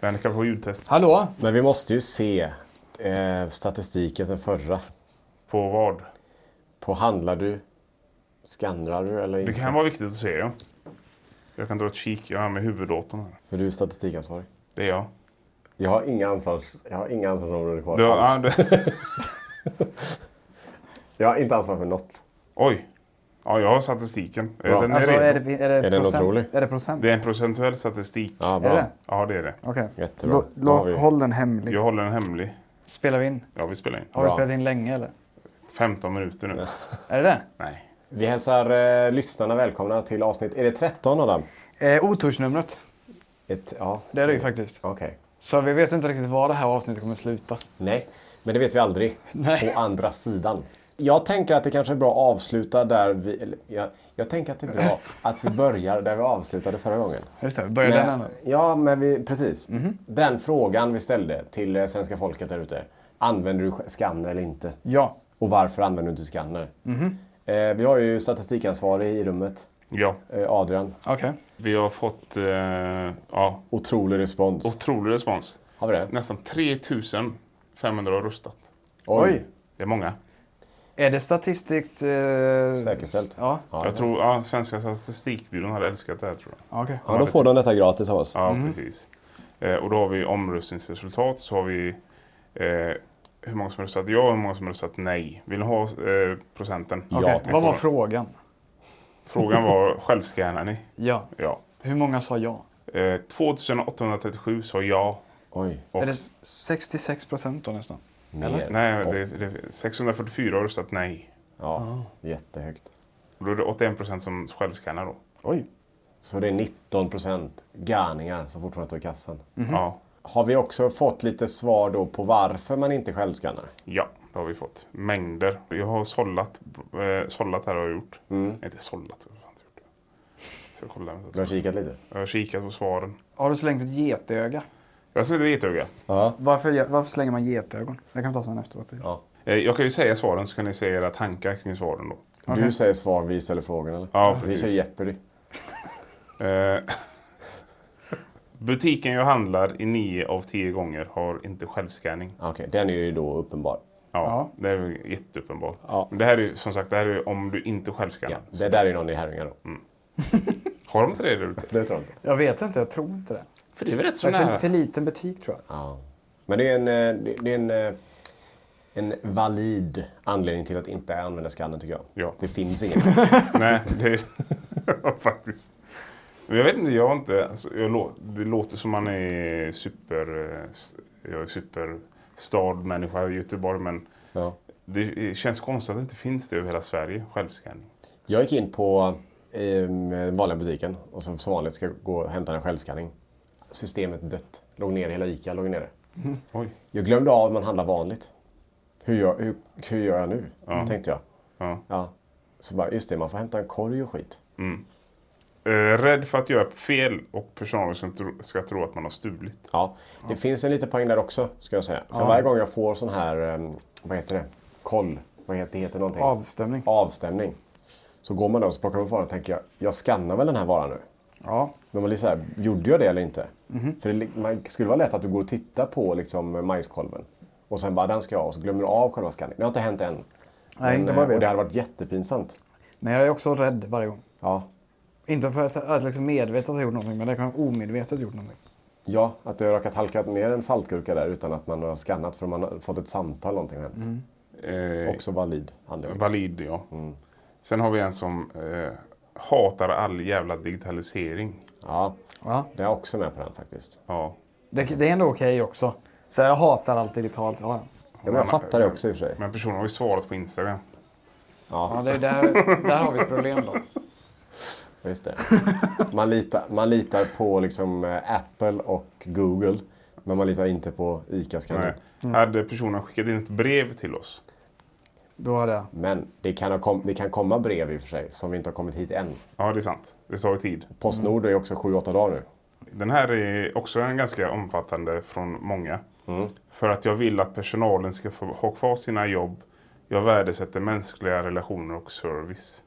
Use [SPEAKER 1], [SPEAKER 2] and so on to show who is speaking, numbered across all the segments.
[SPEAKER 1] Men kan vi få ljudtest
[SPEAKER 2] Hallå?
[SPEAKER 3] Men vi måste ju se eh, statistiken sen förra.
[SPEAKER 1] på vad?
[SPEAKER 3] På handlar du? Skannrar du eller
[SPEAKER 1] Det
[SPEAKER 3] inte?
[SPEAKER 1] kan vara viktigt att se ja. Jag kan dra ett kik, jag har med huvuddatorn här.
[SPEAKER 3] För du är statistikansvarig.
[SPEAKER 1] Det är jag.
[SPEAKER 3] Jag har inga, ansvars... jag har inga ansvarsområden kvar
[SPEAKER 1] Du, har-
[SPEAKER 3] alls.
[SPEAKER 1] ah, du,
[SPEAKER 3] Jag har inte ansvar för något.
[SPEAKER 1] oj! Ja, jag har statistiken. Eh,
[SPEAKER 3] Bra.
[SPEAKER 1] Den är,
[SPEAKER 2] Alltså,
[SPEAKER 1] redo.
[SPEAKER 2] är det, är det,
[SPEAKER 3] den
[SPEAKER 2] procent?
[SPEAKER 3] otrolig?
[SPEAKER 2] Är det procent?
[SPEAKER 1] det är en procentuell statistik.
[SPEAKER 3] Ja,
[SPEAKER 2] Är
[SPEAKER 3] bra.
[SPEAKER 2] det?
[SPEAKER 1] Ja, det är det.
[SPEAKER 2] Okej.
[SPEAKER 3] Jättebra.
[SPEAKER 2] Lå-
[SPEAKER 3] Då har
[SPEAKER 2] låt-
[SPEAKER 3] vi-
[SPEAKER 2] Håll den hemlig.
[SPEAKER 1] Jag håller den hemlig.
[SPEAKER 2] Spelar vi in?
[SPEAKER 1] Ja, vi spelar in.
[SPEAKER 2] Har vi
[SPEAKER 3] Bra.
[SPEAKER 2] spelat in länge eller?
[SPEAKER 1] 15 minuter nu.
[SPEAKER 2] Är det
[SPEAKER 1] Nej.
[SPEAKER 3] Vi hälsar eh, lyssnarna välkomna till avsnitt... Är det 13 Adam?
[SPEAKER 2] det? Eh, otursnumret.
[SPEAKER 3] Ett... Mm. Ja.
[SPEAKER 2] Det är det ju faktiskt.
[SPEAKER 3] Okej.
[SPEAKER 2] Så vi vet inte riktigt var det här avsnittet kommer sluta.
[SPEAKER 3] Nej, men det vet vi aldrig.
[SPEAKER 2] Nej.
[SPEAKER 3] Å andra sidan. Jag tänker att det kanske är bra att avsluta där vi... Eller, jag, jag tänker att det är bra att vi börjar där vi avslutade förra gången.
[SPEAKER 2] Just det, vi börjar den
[SPEAKER 3] Men-
[SPEAKER 2] ändå.
[SPEAKER 3] Ja, men vi, precis.
[SPEAKER 1] Mhm.
[SPEAKER 3] Den frågan vi ställde till eh, svenska folket där ute. Använder du sk- skanner eller inte?
[SPEAKER 2] Ja.
[SPEAKER 3] Och varför använder du inte skanner?
[SPEAKER 1] Mhm.
[SPEAKER 3] Eh, vi har ju statistikansvarig i rummet,
[SPEAKER 1] Ja,
[SPEAKER 3] eh, Adrian.
[SPEAKER 2] Okej.
[SPEAKER 1] vi har fått eh, ja,
[SPEAKER 3] Otrolig respons.
[SPEAKER 1] otrolig respons.
[SPEAKER 3] har vi det?
[SPEAKER 1] Nästan 3500 har röstat.
[SPEAKER 2] Oj.
[SPEAKER 1] Det är många.
[SPEAKER 2] Är det statistiskt... Eh...
[SPEAKER 3] Säkerställt.
[SPEAKER 2] Ja,
[SPEAKER 3] Ja,
[SPEAKER 1] Jag tror ja, Svenska statistikbyrån hade älskat det här tror jag.
[SPEAKER 2] okej.
[SPEAKER 3] ja, då får de detta gratis av oss.
[SPEAKER 1] Ja, precis. Eh, och då har vi omröstningsresultat. Så har vi eh, hur många som röstat ja och hur många som röstat nej. Vill ni ha eh, procenten?
[SPEAKER 3] Ja,
[SPEAKER 2] Okej,
[SPEAKER 3] tack.
[SPEAKER 2] Vad var frågan?
[SPEAKER 1] Frågan var självscannar ni?
[SPEAKER 2] Ja.
[SPEAKER 1] Ja.
[SPEAKER 2] Hur många sa ja?
[SPEAKER 1] Eh, 2837 sa ja.
[SPEAKER 3] Oj.
[SPEAKER 1] Och,
[SPEAKER 2] Är det 66 procent då nästan?
[SPEAKER 3] Mer.
[SPEAKER 1] nej, det, det, 644 har röstat nej.
[SPEAKER 3] Ja, jättehögt.
[SPEAKER 1] Och då är det 81 procent som självscannar då.
[SPEAKER 2] Oj.
[SPEAKER 3] Så det är 19 procent garningar som fortfarande står i kassan.
[SPEAKER 1] Ja.
[SPEAKER 3] Har vi också fått lite svar då på varför man inte självskannar?
[SPEAKER 1] ja, det har vi fått. Mängder. Jag har sållat, eh, sållat här har jag gjort. Inte sållat. vad fan har jag gjort? Ska jag kolla.
[SPEAKER 3] Du har kikat lite?
[SPEAKER 1] Jag har kikat på svaren.
[SPEAKER 2] Har du slängt ett getöga?
[SPEAKER 1] Jag ser inte getöga.
[SPEAKER 3] Ja.
[SPEAKER 2] Varför, varför slänger man getögon? Det kan vi ta sen efteråt.
[SPEAKER 3] ja.
[SPEAKER 1] Eh, Jag kan ju säga svaren så kan ni säga era tankar kring svaren då.
[SPEAKER 2] Okej.
[SPEAKER 3] Du säger svar, vi ställer frågan eller?
[SPEAKER 1] Ja,
[SPEAKER 3] Vi kör
[SPEAKER 1] precis.
[SPEAKER 3] Jeopardy.
[SPEAKER 1] Eh, Butiken jag handlar i nio av tio gånger har inte självscanning.
[SPEAKER 3] Ah, Okej, den är ju då uppenbar.
[SPEAKER 1] Ja,
[SPEAKER 2] Ja.
[SPEAKER 1] Det är ju jätteuppenbart.
[SPEAKER 3] Ja.
[SPEAKER 1] Men det här är ju som sagt det här är ju om du inte självscannar.
[SPEAKER 3] Ja. Det där är ju någon i Herrljunga då.
[SPEAKER 1] Mm. Har de inte det där ute?
[SPEAKER 3] Det tror jag inte.
[SPEAKER 2] Jag vet inte, jag tror inte det.
[SPEAKER 1] För det är väl rätt så
[SPEAKER 2] Det är för,
[SPEAKER 1] nära?
[SPEAKER 2] för liten butik tror jag.
[SPEAKER 3] Ja. Men det är en, eh, det- det är en, eh, en valid anledning till att inte använda skannen tycker jag.
[SPEAKER 1] Ja.
[SPEAKER 3] Det finns ingen.
[SPEAKER 1] Nej, det är ja, faktiskt. Men jag vet inte, jag har inte... Alltså, jag lå... Det låter som man är super... eh, s- Jag är superstadmänniska i Göteborg, men
[SPEAKER 3] ja.
[SPEAKER 1] det känns konstigt att det inte finns det över hela Sverige, självscanning.
[SPEAKER 3] Jag gick in på eh, den vanliga butiken och så, som vanligt ska jag gå och hämta en självskanning. Systemet dött. Låg ner, hela ICA låg nere.
[SPEAKER 1] Oj.
[SPEAKER 3] Jag glömde av att man handlar vanligt. Hur gör, hur, hur gör jag nu? Tänkte jag.
[SPEAKER 1] Ja.
[SPEAKER 3] Så bara, just det, man får hämta en korg och skit.
[SPEAKER 1] Eh, rädd för att göra fel och personalen ska tro, ska tro att man har stulit.
[SPEAKER 3] Ja, det finns en liten poäng där också, ska jag säga. För varje gång jag får sån här, eh, vad heter det, koll, vad heter det, heter någonting?
[SPEAKER 2] Avstämning.
[SPEAKER 3] Avstämning. Så går man där och så plockar man upp varan och tänker, jag, jag skannar väl den här varan nu?
[SPEAKER 2] Ja.
[SPEAKER 3] Men man blir så här,
[SPEAKER 2] Mhm.
[SPEAKER 3] gjorde jag det eller inte? För det li- man, skulle vara lätt att du går och tittar på liksom majskolven. Och sen bara, den ska jag ha. Och så glömmer du av själva skanningen. Det har inte hänt än.
[SPEAKER 2] Nej, inte vad
[SPEAKER 3] eh,
[SPEAKER 2] jag
[SPEAKER 3] Och
[SPEAKER 2] vet.
[SPEAKER 3] det hade varit jättepinsamt.
[SPEAKER 2] Men jag är också rädd varje gång.
[SPEAKER 3] Ja,
[SPEAKER 2] Inte för att, att liksom medvetet ha gjort någonting, men det kan jag omedvetet gjort någonting.
[SPEAKER 3] Ja, att det har råkat halka ner en saltgurka där utan att man har skannat för man har fått ett samtal någonting har hänt.
[SPEAKER 2] Mm.
[SPEAKER 1] Eh,
[SPEAKER 3] Också valid handling.
[SPEAKER 1] valid, ja.
[SPEAKER 3] Mm.
[SPEAKER 1] Sen har vi en som eh, hatar all jävla digitalisering.
[SPEAKER 3] Ja,
[SPEAKER 2] Ja.
[SPEAKER 3] det är jag också med på den faktiskt.
[SPEAKER 1] Ja.
[SPEAKER 2] Det, det är ändå okej också. Så jag hatar allt digitalt. Ja, ja.
[SPEAKER 3] Ja, men jag fattar det också i och för sig.
[SPEAKER 1] Men personen har ju svarat på Instagram.
[SPEAKER 2] ja det, är där, där har vi ett problem då.
[SPEAKER 3] Just det. Man litar, man litar på liksom eh, Apple och Google. Men man litar inte på ICA-skanning.
[SPEAKER 1] Nej. Hade personen skickat in ett brev till oss?
[SPEAKER 2] Då har det.
[SPEAKER 3] Men det kan, ha kom, det kan komma brev i och för sig som vi inte har kommit hit än.
[SPEAKER 1] Ja, det är sant. Det tar ju tid.
[SPEAKER 3] Postnord är också 7-8 dagar nu.
[SPEAKER 1] Den här är också en ganska omfattande från många. För att jag vill att personalen ska få ha kvar sina jobb. Jag värdesätter mänskliga relationer och service.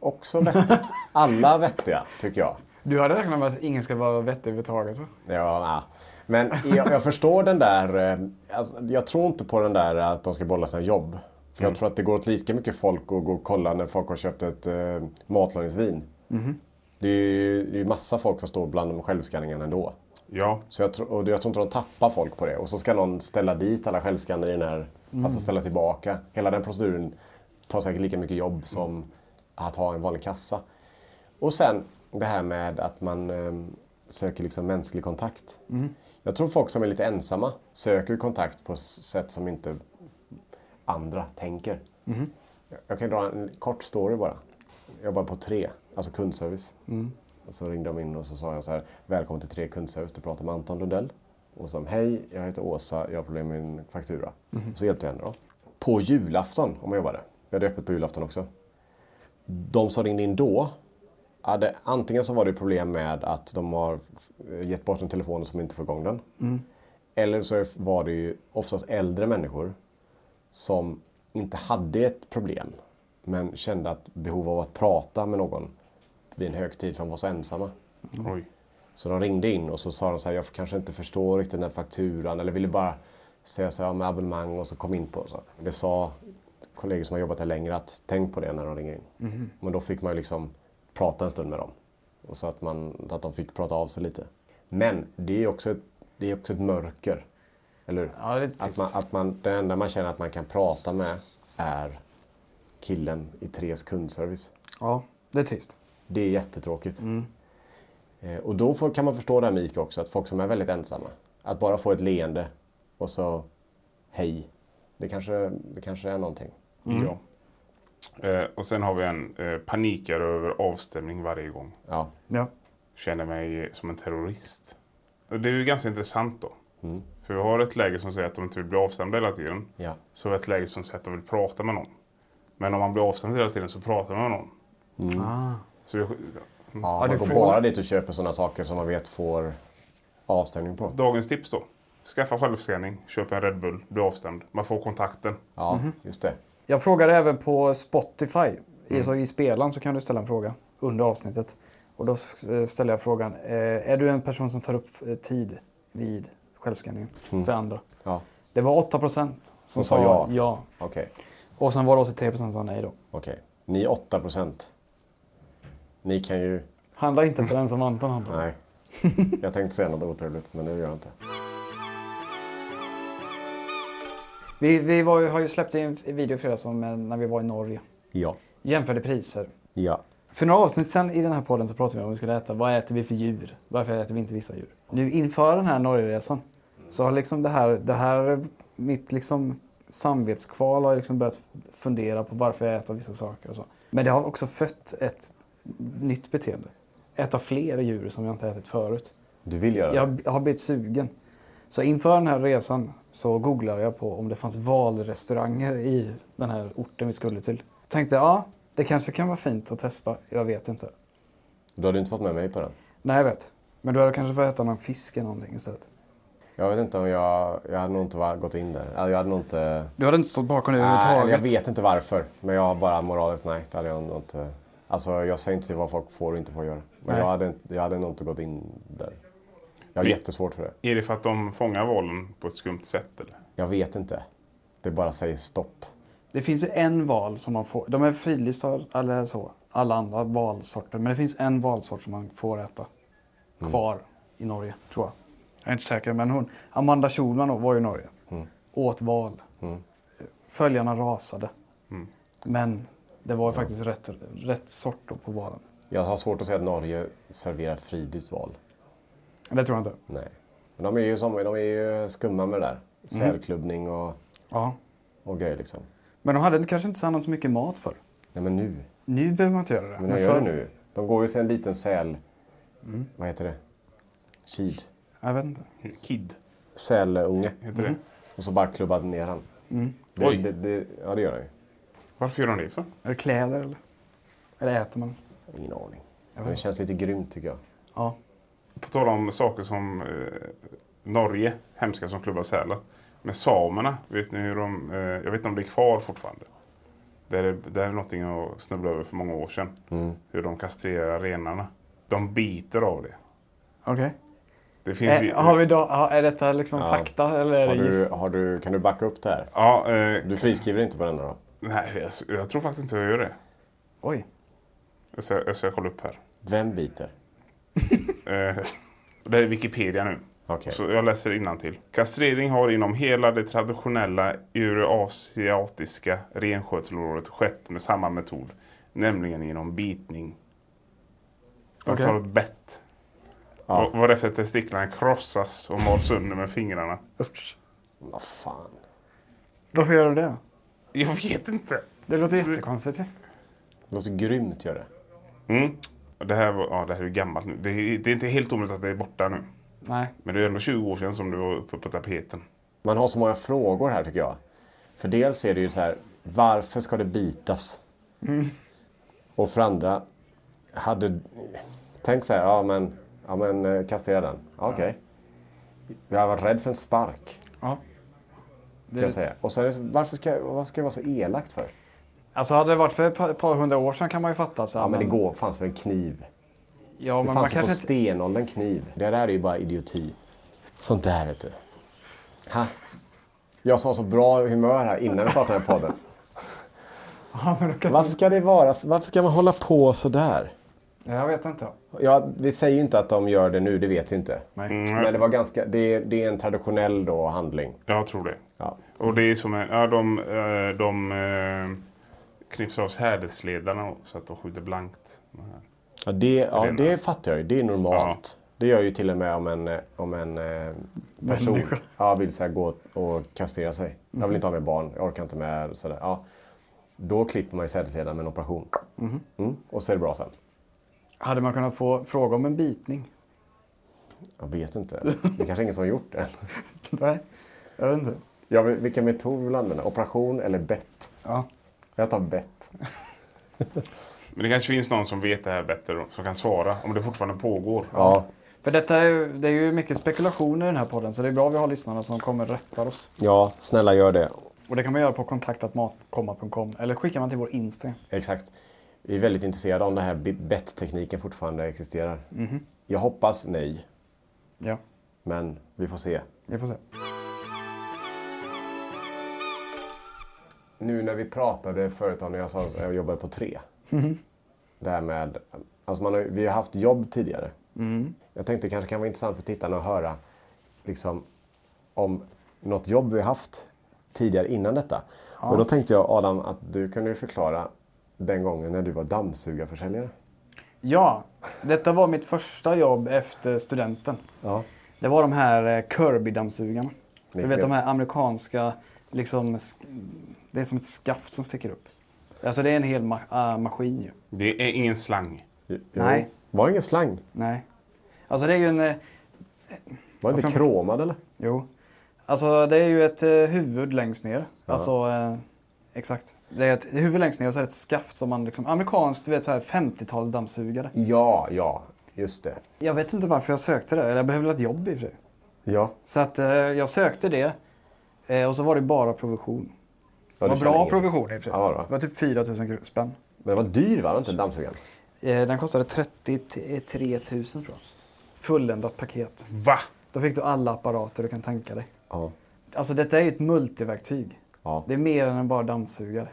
[SPEAKER 3] Också vettigt. Alla vettiga, tycker jag.
[SPEAKER 2] Du hade räknat med att ingen ska vara vettig överhuvudtaget va?
[SPEAKER 3] Ja, nja. Men jag, jag förstår den där... eh, Alltså, jag tror inte på den där att de ska bolla sina jobb. För jag tror att det går åt lika mycket folk att gå och kolla när folk har köpt ett eh, matlagningsvin. Det är ju det är ju massa folk som står bland de självskanningarna ändå.
[SPEAKER 1] Ja,
[SPEAKER 3] Så jag, tror- och jag tror inte de tappar folk på det. Och så ska någon ställa dit alla självskanner i den här... Alltså ställa tillbaka. Hela den proceduren tar säkert lika mycket jobb som att ha en vanlig kassa. Och sen det här med att man eh, söker liksom mänsklig kontakt. Jag tror folk som är lite ensamma söker kontakt på s- sätt som inte andra tänker. Jag- Jag kan dra en kort story bara. Jag jobbade på Tre, alltså kundservice. Och så ringde de in och så sa jag så här, välkommen till Tre kundservice, du pratar med Anton Lundell. Och så sa de, hej, jag heter Åsa, jag har problem med min faktura. Och så hjälpte jag henne då. På julafton, om jag jobbade. Vi hade öppet på julafton också. De som ringde in då, hade, antingen så var det problem med att de har eh, gett bort en telefon som inte får igång den. Eller så var det ju oftast äldre människor som inte hade ett problem men kände att behov av att prata med någon vid en högtid för de var så ensamma.
[SPEAKER 1] oj.
[SPEAKER 3] Så de ringde in och så sa de så här, jag kanske inte förstår riktigt den här fakturan eller ville bara säga så här med abonnemang och så kom in på det. så. Det sa kollegor som har jobbat här längre att tänk på det när de ringer in. Men då fick man ju liksom prata en stund med dem. Och så att, man, att de fick prata av sig lite. Men det är också ett, det är också ett mörker. Eller hur?
[SPEAKER 2] Ja, det är lite
[SPEAKER 3] att man, att man, Den enda man känner att man kan prata med är killen i Tres kundservice.
[SPEAKER 2] Ja, det är trist.
[SPEAKER 3] Det är jättetråkigt.
[SPEAKER 2] Mm.
[SPEAKER 3] Eh, Och då får, kan man förstå det här med ICA också, att folk som är väldigt ensamma. Att bara få ett leende och så hej. Det kanske, det kanske är någonting.
[SPEAKER 2] Mm.
[SPEAKER 1] Ja. Eh, och sen har vi en eh, panikar över avstämning varje gång.
[SPEAKER 3] Ja.
[SPEAKER 2] Ja.
[SPEAKER 1] Känner mig som en terrorist. Och det är ju ganska intressant då. För vi har ett läge som säger att de inte vill bli avstämda hela tiden.
[SPEAKER 3] Mm. Ja.
[SPEAKER 1] Så har vi ett läge som säger att de vill prata med någon. Men om man blir avstämd hela tiden så pratar man med någon.
[SPEAKER 3] Mm.
[SPEAKER 1] Så vi,
[SPEAKER 3] Ja,
[SPEAKER 2] det
[SPEAKER 3] man går
[SPEAKER 2] får-
[SPEAKER 3] bara dit och köper sådana saker som man vet får avstängning på.
[SPEAKER 1] dagens tips då. Skaffa självskanning, köp en Red Bull, bli avstämd. Man får kontakten.
[SPEAKER 3] Ja,
[SPEAKER 2] Mhm.
[SPEAKER 3] just det.
[SPEAKER 2] Jag frågade även på Spotify.
[SPEAKER 3] Mm.
[SPEAKER 2] I, så I spelaren så kan du ställa en fråga under avsnittet. Och då s- eh, ställde jag frågan, eh, är du en person som tar upp eh, tid vid självskanningen för andra?
[SPEAKER 3] Ja,
[SPEAKER 2] Det var 8 procent
[SPEAKER 3] Mm. Som sa ja.
[SPEAKER 2] ja.
[SPEAKER 3] okej.
[SPEAKER 2] Och sen var det också 3 procent som sa nej då.
[SPEAKER 3] Okej. Ni är 8 procent. Ni kan ju...
[SPEAKER 2] Handla inte på den som Anton handlar.
[SPEAKER 3] Nej. Jag tänkte säga något otrevligt, men det gör jag inte.
[SPEAKER 2] Vi, vi var ju, har ju släppt in en video i fredags om eh, när vi var i Norge.
[SPEAKER 3] Ja.
[SPEAKER 2] Jämförde priser.
[SPEAKER 3] Ja.
[SPEAKER 2] För några avsnitt sen i den här podden så pratade vi om vad vi skulle äta. Vad äter vi för djur? Varför äter vi inte vissa djur? Nu inför den här Norgeresan så har liksom det här, det här mitt liksom samvetskval har liksom börjat fundera på varför jag äter vissa saker och så. Men det har också fött ett nytt beteende. Äta fler djur som jag inte ätit förut.
[SPEAKER 3] Du vill göra det?
[SPEAKER 2] Jag jag har blivit sugen. Så inför den här resan så googlade jag på om det fanns valrestauranger i den här orten vi skulle till. Tänkte ja, det kanske kan vara fint att testa. Jag vet inte.
[SPEAKER 3] Du hade inte fått med mig på den?
[SPEAKER 2] Nej, jag vet. Men du hade kanske fått äta någon fisk eller någonting istället.
[SPEAKER 3] Jag vet inte om jag... Jag hade nog inte var- gått in där. Alltså, Jag hade nog inte...
[SPEAKER 2] Du hade inte stått bakom det
[SPEAKER 3] Nej, eller jag
[SPEAKER 2] överhuvudtaget.
[SPEAKER 3] vet inte varför. Men jag har bara moraliskt nej. Det hade jag nog inte... Alltså jag säger inte vad folk får och inte får göra. Men
[SPEAKER 2] Nej.
[SPEAKER 3] jag hade, inte- jag hade nog inte gått in där. Jag har
[SPEAKER 1] Vi-
[SPEAKER 3] jättesvårt för det.
[SPEAKER 1] Är det för att de fångar valen på ett skumt sätt eller?
[SPEAKER 3] Jag vet inte. Det bara säger stopp.
[SPEAKER 2] Det finns ju en val som man får. De är fridlysta eller så. Alla andra valsorter. Men det finns en valsort som man får äta.
[SPEAKER 3] Mm.
[SPEAKER 2] Kvar i Norge, tror jag. Jag är inte säker, men hon, Amanda Schulman då, var ju i Norge.
[SPEAKER 3] Mm.
[SPEAKER 2] Åt val. Följarna rasade.
[SPEAKER 3] Mm.
[SPEAKER 2] Men det var ju faktiskt rätt, rätt sort då på valen.
[SPEAKER 3] Jag har svårt att säga att Norge serverar fridlyst val.
[SPEAKER 2] Det tror jag inte.
[SPEAKER 3] Nej. Men de är ju, som, de är ju skumma med det där.
[SPEAKER 2] Mm.
[SPEAKER 3] Sälklubbning och,
[SPEAKER 2] Ja.
[SPEAKER 3] och grejer liksom.
[SPEAKER 2] Men de hade kanske inte samlat så mycket mat för.
[SPEAKER 3] Nej men nu.
[SPEAKER 2] Nu behöver man inte göra det.
[SPEAKER 3] Men de gör det nu. De går ju till en liten säl... Vad heter det? Kid.
[SPEAKER 2] Jag vet inte.
[SPEAKER 1] Kid,
[SPEAKER 3] Sälunge.
[SPEAKER 1] heter det.
[SPEAKER 3] Och så bara klubbar ner han. Det,
[SPEAKER 1] Oj.
[SPEAKER 3] det, det, ja det gör han ju.
[SPEAKER 1] Varför gör de det för?
[SPEAKER 2] Är det kläder eller? Eller äter man?
[SPEAKER 3] Ingen aning. Men det känns lite grymt tycker jag.
[SPEAKER 2] Ja.
[SPEAKER 1] På tal om saker som eh, Norge, hemska som klubbar sälar. Men samerna, vet ni hur de... Eh, jag vet inte om det är kvar fortfarande. Det är, det är någonting jag snubblade över för många år sedan. Hur de kastrerar renarna. De biter av det.
[SPEAKER 2] Okej.
[SPEAKER 1] det finns vi-
[SPEAKER 2] Är, Eh, har vi då, har- är detta liksom fakta eller är
[SPEAKER 3] Har
[SPEAKER 2] det
[SPEAKER 3] du,
[SPEAKER 2] giss?
[SPEAKER 3] har du, kan du backa upp det här?
[SPEAKER 1] Ja, eh,
[SPEAKER 3] Du friskriver inte på den då?
[SPEAKER 1] nej, jag, jag tror faktiskt inte jag gör det.
[SPEAKER 2] Oj.
[SPEAKER 1] Jag ska, jag ska kolla upp här.
[SPEAKER 3] Vem biter?
[SPEAKER 1] Eh, det här är Wikipedia nu.
[SPEAKER 3] Okej.
[SPEAKER 1] Så jag läser till. Kastrering har inom hela det traditionella euroasiatiska renskötselområdet skett med samma metod, nämligen genom bitning. De
[SPEAKER 2] Okej.
[SPEAKER 1] tar ett bett.
[SPEAKER 3] Ja.
[SPEAKER 1] Ja. Varefter testiklarna krossas och mals under med fingrarna.
[SPEAKER 2] Usch.
[SPEAKER 3] Vad fan.
[SPEAKER 2] Varför gör du det?
[SPEAKER 1] Jag vet inte.
[SPEAKER 2] Det låter jättekonstigt ju.
[SPEAKER 3] Det låter grymt gör det.
[SPEAKER 1] Mm. Det, här var, ja, det här är ju gammalt nu. Det är, det är inte helt omöjligt att det är borta nu.
[SPEAKER 2] Nej.
[SPEAKER 1] Men det är ändå 20 år sedan som det var uppe på tapeten.
[SPEAKER 3] Man har så många frågor här tycker jag. För dels är det ju så här, varför ska det bitas? Mm. Och för andra, hade... Tänk så här, ja men, ja, men eh, kastrera den. Ja, Okej. Jag har varit rädd för en spark,
[SPEAKER 2] Ja.
[SPEAKER 3] kan jag säga. Och sen, är det så- varför ska, vad ska det vara så elakt för?
[SPEAKER 2] Alltså hade det varit för ett par, par hundra år sedan kan man ju fatta. Så här,
[SPEAKER 3] Ja men det går, fanns väl en kniv?
[SPEAKER 2] Ja,
[SPEAKER 3] Det
[SPEAKER 2] men man
[SPEAKER 3] fanns ju på
[SPEAKER 2] kanske inte...
[SPEAKER 3] stenåldern kniv. Det där är ju bara idioti. Sånt där vet du. Ha. Jag sa så bra humör här innan vi startade den här podden.
[SPEAKER 2] Ja, men då kan...
[SPEAKER 3] Varför ska det vara så- Varför ska man hålla på så där?
[SPEAKER 2] Jag vet inte.
[SPEAKER 3] Ja, vi säger ju inte att de gör det nu, det vet vi inte. Men det var ganska... Det, det är en traditionell då handling.
[SPEAKER 1] Jag tror det.
[SPEAKER 3] Ja.
[SPEAKER 1] Och det är som en, ja, de, eh, de eh, knipsar av sädesledarna och- så att de skjuter blankt. De här.
[SPEAKER 3] Ja, det, ja,
[SPEAKER 1] Helena.
[SPEAKER 3] det fattar jag ju. Det är normalt. Det gör ju till och med om en, eh, om en eh, person ja, vill så här, gå och kastrera sig. Jag vill inte ha med barn, jag orkar inte med sådär. Ja. Då klipper man ju sädesledaren med en operation. Mm, och så är det bra sen.
[SPEAKER 2] Hade man kunnat få fråga om en bitning?
[SPEAKER 3] Jag vet inte. Det är kanske ingen som har gjort det.
[SPEAKER 2] Nej. Jag vet inte.
[SPEAKER 3] Ja, vil- vilken metod vill du använda? Operation eller bett?
[SPEAKER 2] Ja.
[SPEAKER 3] Jag tar bett.
[SPEAKER 1] Men det kanske finns någon som vet det här bättre då, som kan svara om det fortfarande pågår.
[SPEAKER 3] Ja,
[SPEAKER 2] För detta är, ju- det är ju mycket spekulationer i den här podden så det är bra att vi har lyssnarna som kommer rätta oss.
[SPEAKER 3] ja, snälla gör det.
[SPEAKER 2] Och det kan man göra på kontaktatmatkomma.com eller skickar man till vår Instagram.
[SPEAKER 3] Exakt. Vi är väldigt intresserade om den här bi- betttekniken fortfarande existerar. Jag hoppas nej.
[SPEAKER 2] Ja,
[SPEAKER 3] Men vi får se.
[SPEAKER 2] vi får se.
[SPEAKER 3] Nu när vi pratade förut om när jag sa att jag jobbade på tre.
[SPEAKER 2] Mm.
[SPEAKER 3] Det här med, alltså man har, ju- vi har haft jobb tidigare.
[SPEAKER 2] Mm.
[SPEAKER 3] Jag tänkte det kanske kan vara intressant för tittarna att höra liksom, om något jobb vi har haft tidigare innan detta. Och då tänkte jag Adam att du kunde ju förklara den gången när du var dammsugarförsäljare.
[SPEAKER 2] Ja, detta var mitt första jobb efter studenten.
[SPEAKER 3] Ja.
[SPEAKER 2] Det var de här eh, Kirby-dammsugarna. Du vet
[SPEAKER 3] Vilka?
[SPEAKER 2] de här amerikanska, liksom, sk- det är som ett skaft som sticker upp. Alltså det är en hel ma- äh, maskin ju.
[SPEAKER 1] Det är ingen slang.
[SPEAKER 2] Nej.
[SPEAKER 3] Var det ingen slang?
[SPEAKER 2] Nej. Alltså det är ju en... eh,
[SPEAKER 3] Var det inte
[SPEAKER 2] Alltså-
[SPEAKER 3] kromad eller?
[SPEAKER 2] Jo. Alltså det är ju ett eh, huvud längst ner. Alltså, eh, exakt. Det är ett huvud längst ner och så är det ett skaft som man liksom... Amerikanskt, du vet så här 50-tals dammsugare.
[SPEAKER 3] Ja, ja, just det.
[SPEAKER 2] Jag vet inte varför jag sökte det. Eller jag behövde väl ett jobb i och för sig.
[SPEAKER 3] Ja.
[SPEAKER 2] Så att eh, jag sökte det. Eh, och så var det bara provision.
[SPEAKER 3] Ja,
[SPEAKER 2] Det
[SPEAKER 3] du
[SPEAKER 2] var
[SPEAKER 3] kände
[SPEAKER 2] bra
[SPEAKER 3] ingenting.
[SPEAKER 2] provision i och för sig.
[SPEAKER 3] Ja, det var.
[SPEAKER 2] det var typ 4 000 spänn.
[SPEAKER 3] Men det var dyr var det inte dammsugaren?
[SPEAKER 2] Eh, den kostade 33 000 tror jag. Fulländat paket.
[SPEAKER 1] Va?
[SPEAKER 2] Då fick du alla apparater du kan tanka dig.
[SPEAKER 3] Ja.
[SPEAKER 2] Alltså detta är ju ett multiverktyg.
[SPEAKER 3] Ja.
[SPEAKER 2] Det är mer än bara dammsugare.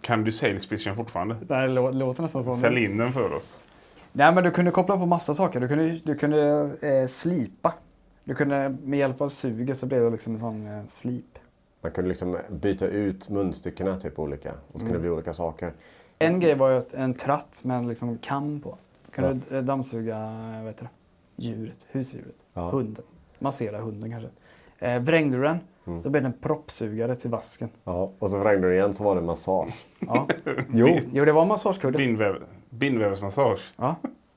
[SPEAKER 1] Kan du sales pitchen fortfarande?
[SPEAKER 2] Det här lå- låter nästan som...
[SPEAKER 1] Sälj in den för oss.
[SPEAKER 2] Nej, men du kunde koppla på massa saker. Du kunde, du kunde eh, slipa. Du kunde med hjälp av suget så blev det liksom en sån eh, slip.
[SPEAKER 3] Man kunde liksom byta ut munstyckena typ olika. Och så kunde det bli olika saker.
[SPEAKER 2] En grej var ju att en tratt med en liksom kam på. Du kunde eh, dammsuga eh, vad heter det? djuret, husdjuret, hunden. Massera hunden kanske. Eh, vrängde du den, då blev den proppsugare till vasken.
[SPEAKER 3] Ja, och så vrängde du igen så var det massage.
[SPEAKER 2] Ja.
[SPEAKER 3] Jo,
[SPEAKER 2] Jo, det var en massagekudde.
[SPEAKER 1] Bindväv, bindvävsmassage.
[SPEAKER 2] Ja.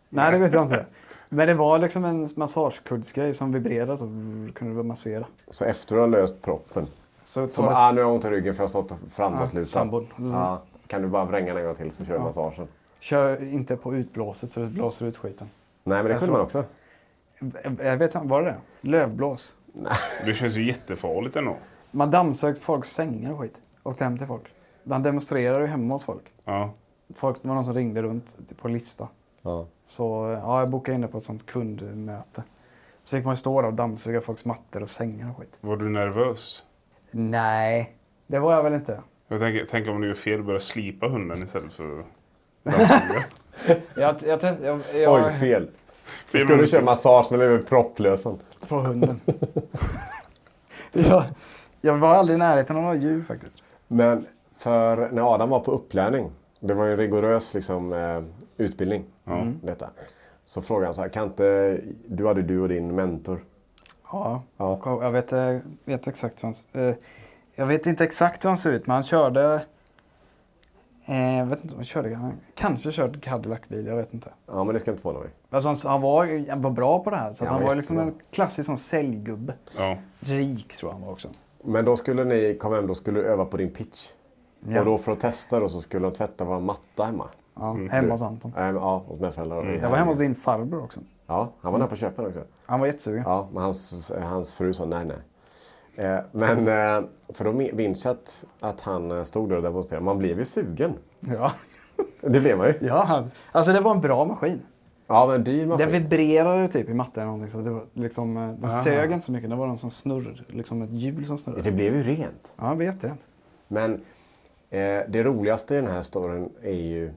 [SPEAKER 2] Nej, det vet jag inte. Men det var liksom en massagekuddsgrej som vibrerade så vrr, kunde du massera.
[SPEAKER 3] så efter du har löst proppen.
[SPEAKER 2] Så,
[SPEAKER 3] Så
[SPEAKER 2] så
[SPEAKER 3] bara,
[SPEAKER 2] det,
[SPEAKER 3] ah, nu har jag ont i ryggen för jag har stått framåtlutad.
[SPEAKER 2] sambon.
[SPEAKER 3] Ja, kan du bara vränga den en gång till så kör jag massagen.
[SPEAKER 2] kör inte på utblåset så det blåser ut skiten. Eh,
[SPEAKER 3] Nej, men det kunde man också.
[SPEAKER 2] Jag vet inte, var det det? Lövblås.
[SPEAKER 1] Det känns ju jättefarligt ändå.
[SPEAKER 2] Man dammsög folks sängar och skit. Åkte hem till folk. Man demonstrerade ju hemma hos folk.
[SPEAKER 1] Ja.
[SPEAKER 2] folk det var någon som ringde runt på lista.
[SPEAKER 3] Ja.
[SPEAKER 2] Så ja, jag bokade in det på ett sånt kundmöte. Så fick man ju stå där och dammsuga folks mattor och sängar och skit.
[SPEAKER 1] Var du nervös?
[SPEAKER 2] Nej, det var jag väl inte.
[SPEAKER 1] Jag tänker, tänk om du gör fel och börjar slipa hunden istället för att dammsuga.
[SPEAKER 2] Jag, jag, test- jag,
[SPEAKER 3] Oj,
[SPEAKER 2] jag,
[SPEAKER 3] fel. Vi skulle köra massage men det blev propplösen.
[SPEAKER 2] på hunden. jag, jag var aldrig i närheten av några djur faktiskt.
[SPEAKER 3] Men för när Adam var på upplärning, det var ju en rigorös liksom, eh, utbildning.
[SPEAKER 2] Mm.
[SPEAKER 3] Detta. Så frågade han så här, kan inte, du hade du och din mentor.
[SPEAKER 2] Ja,
[SPEAKER 3] Ja.
[SPEAKER 2] jag vet, eh, vet exakt hur han, eh, Jag vet inte exakt hur han såg ut, men han körde... Eh, jag vet inte om han körde... Han kanske körde Cadillac-bil, jag vet inte.
[SPEAKER 3] Ja men det ska inte förvåna mig.
[SPEAKER 2] Alltså, han, han, var, han var bra på det här. Så att
[SPEAKER 3] Ja,
[SPEAKER 2] han var liksom en
[SPEAKER 3] jättebra.
[SPEAKER 2] klassisk sån säljgubbe.
[SPEAKER 1] Ja.
[SPEAKER 2] Rik tror jag han var också.
[SPEAKER 3] Men då skulle ni komma hem, då skulle du öva på din pitch.
[SPEAKER 2] Ja.
[SPEAKER 3] Och då för att testa då så skulle de tvätta vår matta hemma.
[SPEAKER 2] Ja, hemma hos Anton.
[SPEAKER 3] Äh, ja, hos mina föräldrar.
[SPEAKER 2] Mm. Jag var hemma hos din farbror också.
[SPEAKER 3] Ja, han var där på köpen också.
[SPEAKER 2] Han var jättesugen.
[SPEAKER 3] Ja, men hans, hans fru sa nej, nej. Eh, men, eh, för då min- minns jag att, att han eh, stod där och demonstrerade. Man blev ju sugen.
[SPEAKER 2] Ja.
[SPEAKER 3] Det blev man ju.
[SPEAKER 2] ja, han, alltså det var en bra maskin.
[SPEAKER 3] Ja, men dyr
[SPEAKER 2] Den
[SPEAKER 3] maskin.
[SPEAKER 2] vibrerade typ i matten eller någonting. Så det var liksom, eh, den sög inte så mycket. Det var någon som snurr, liksom ett hjul som
[SPEAKER 3] Det
[SPEAKER 2] snurrade.
[SPEAKER 3] blev ju rent.
[SPEAKER 2] Ja, jag vet det.
[SPEAKER 3] Men eh, det roligaste i den här storyn är ju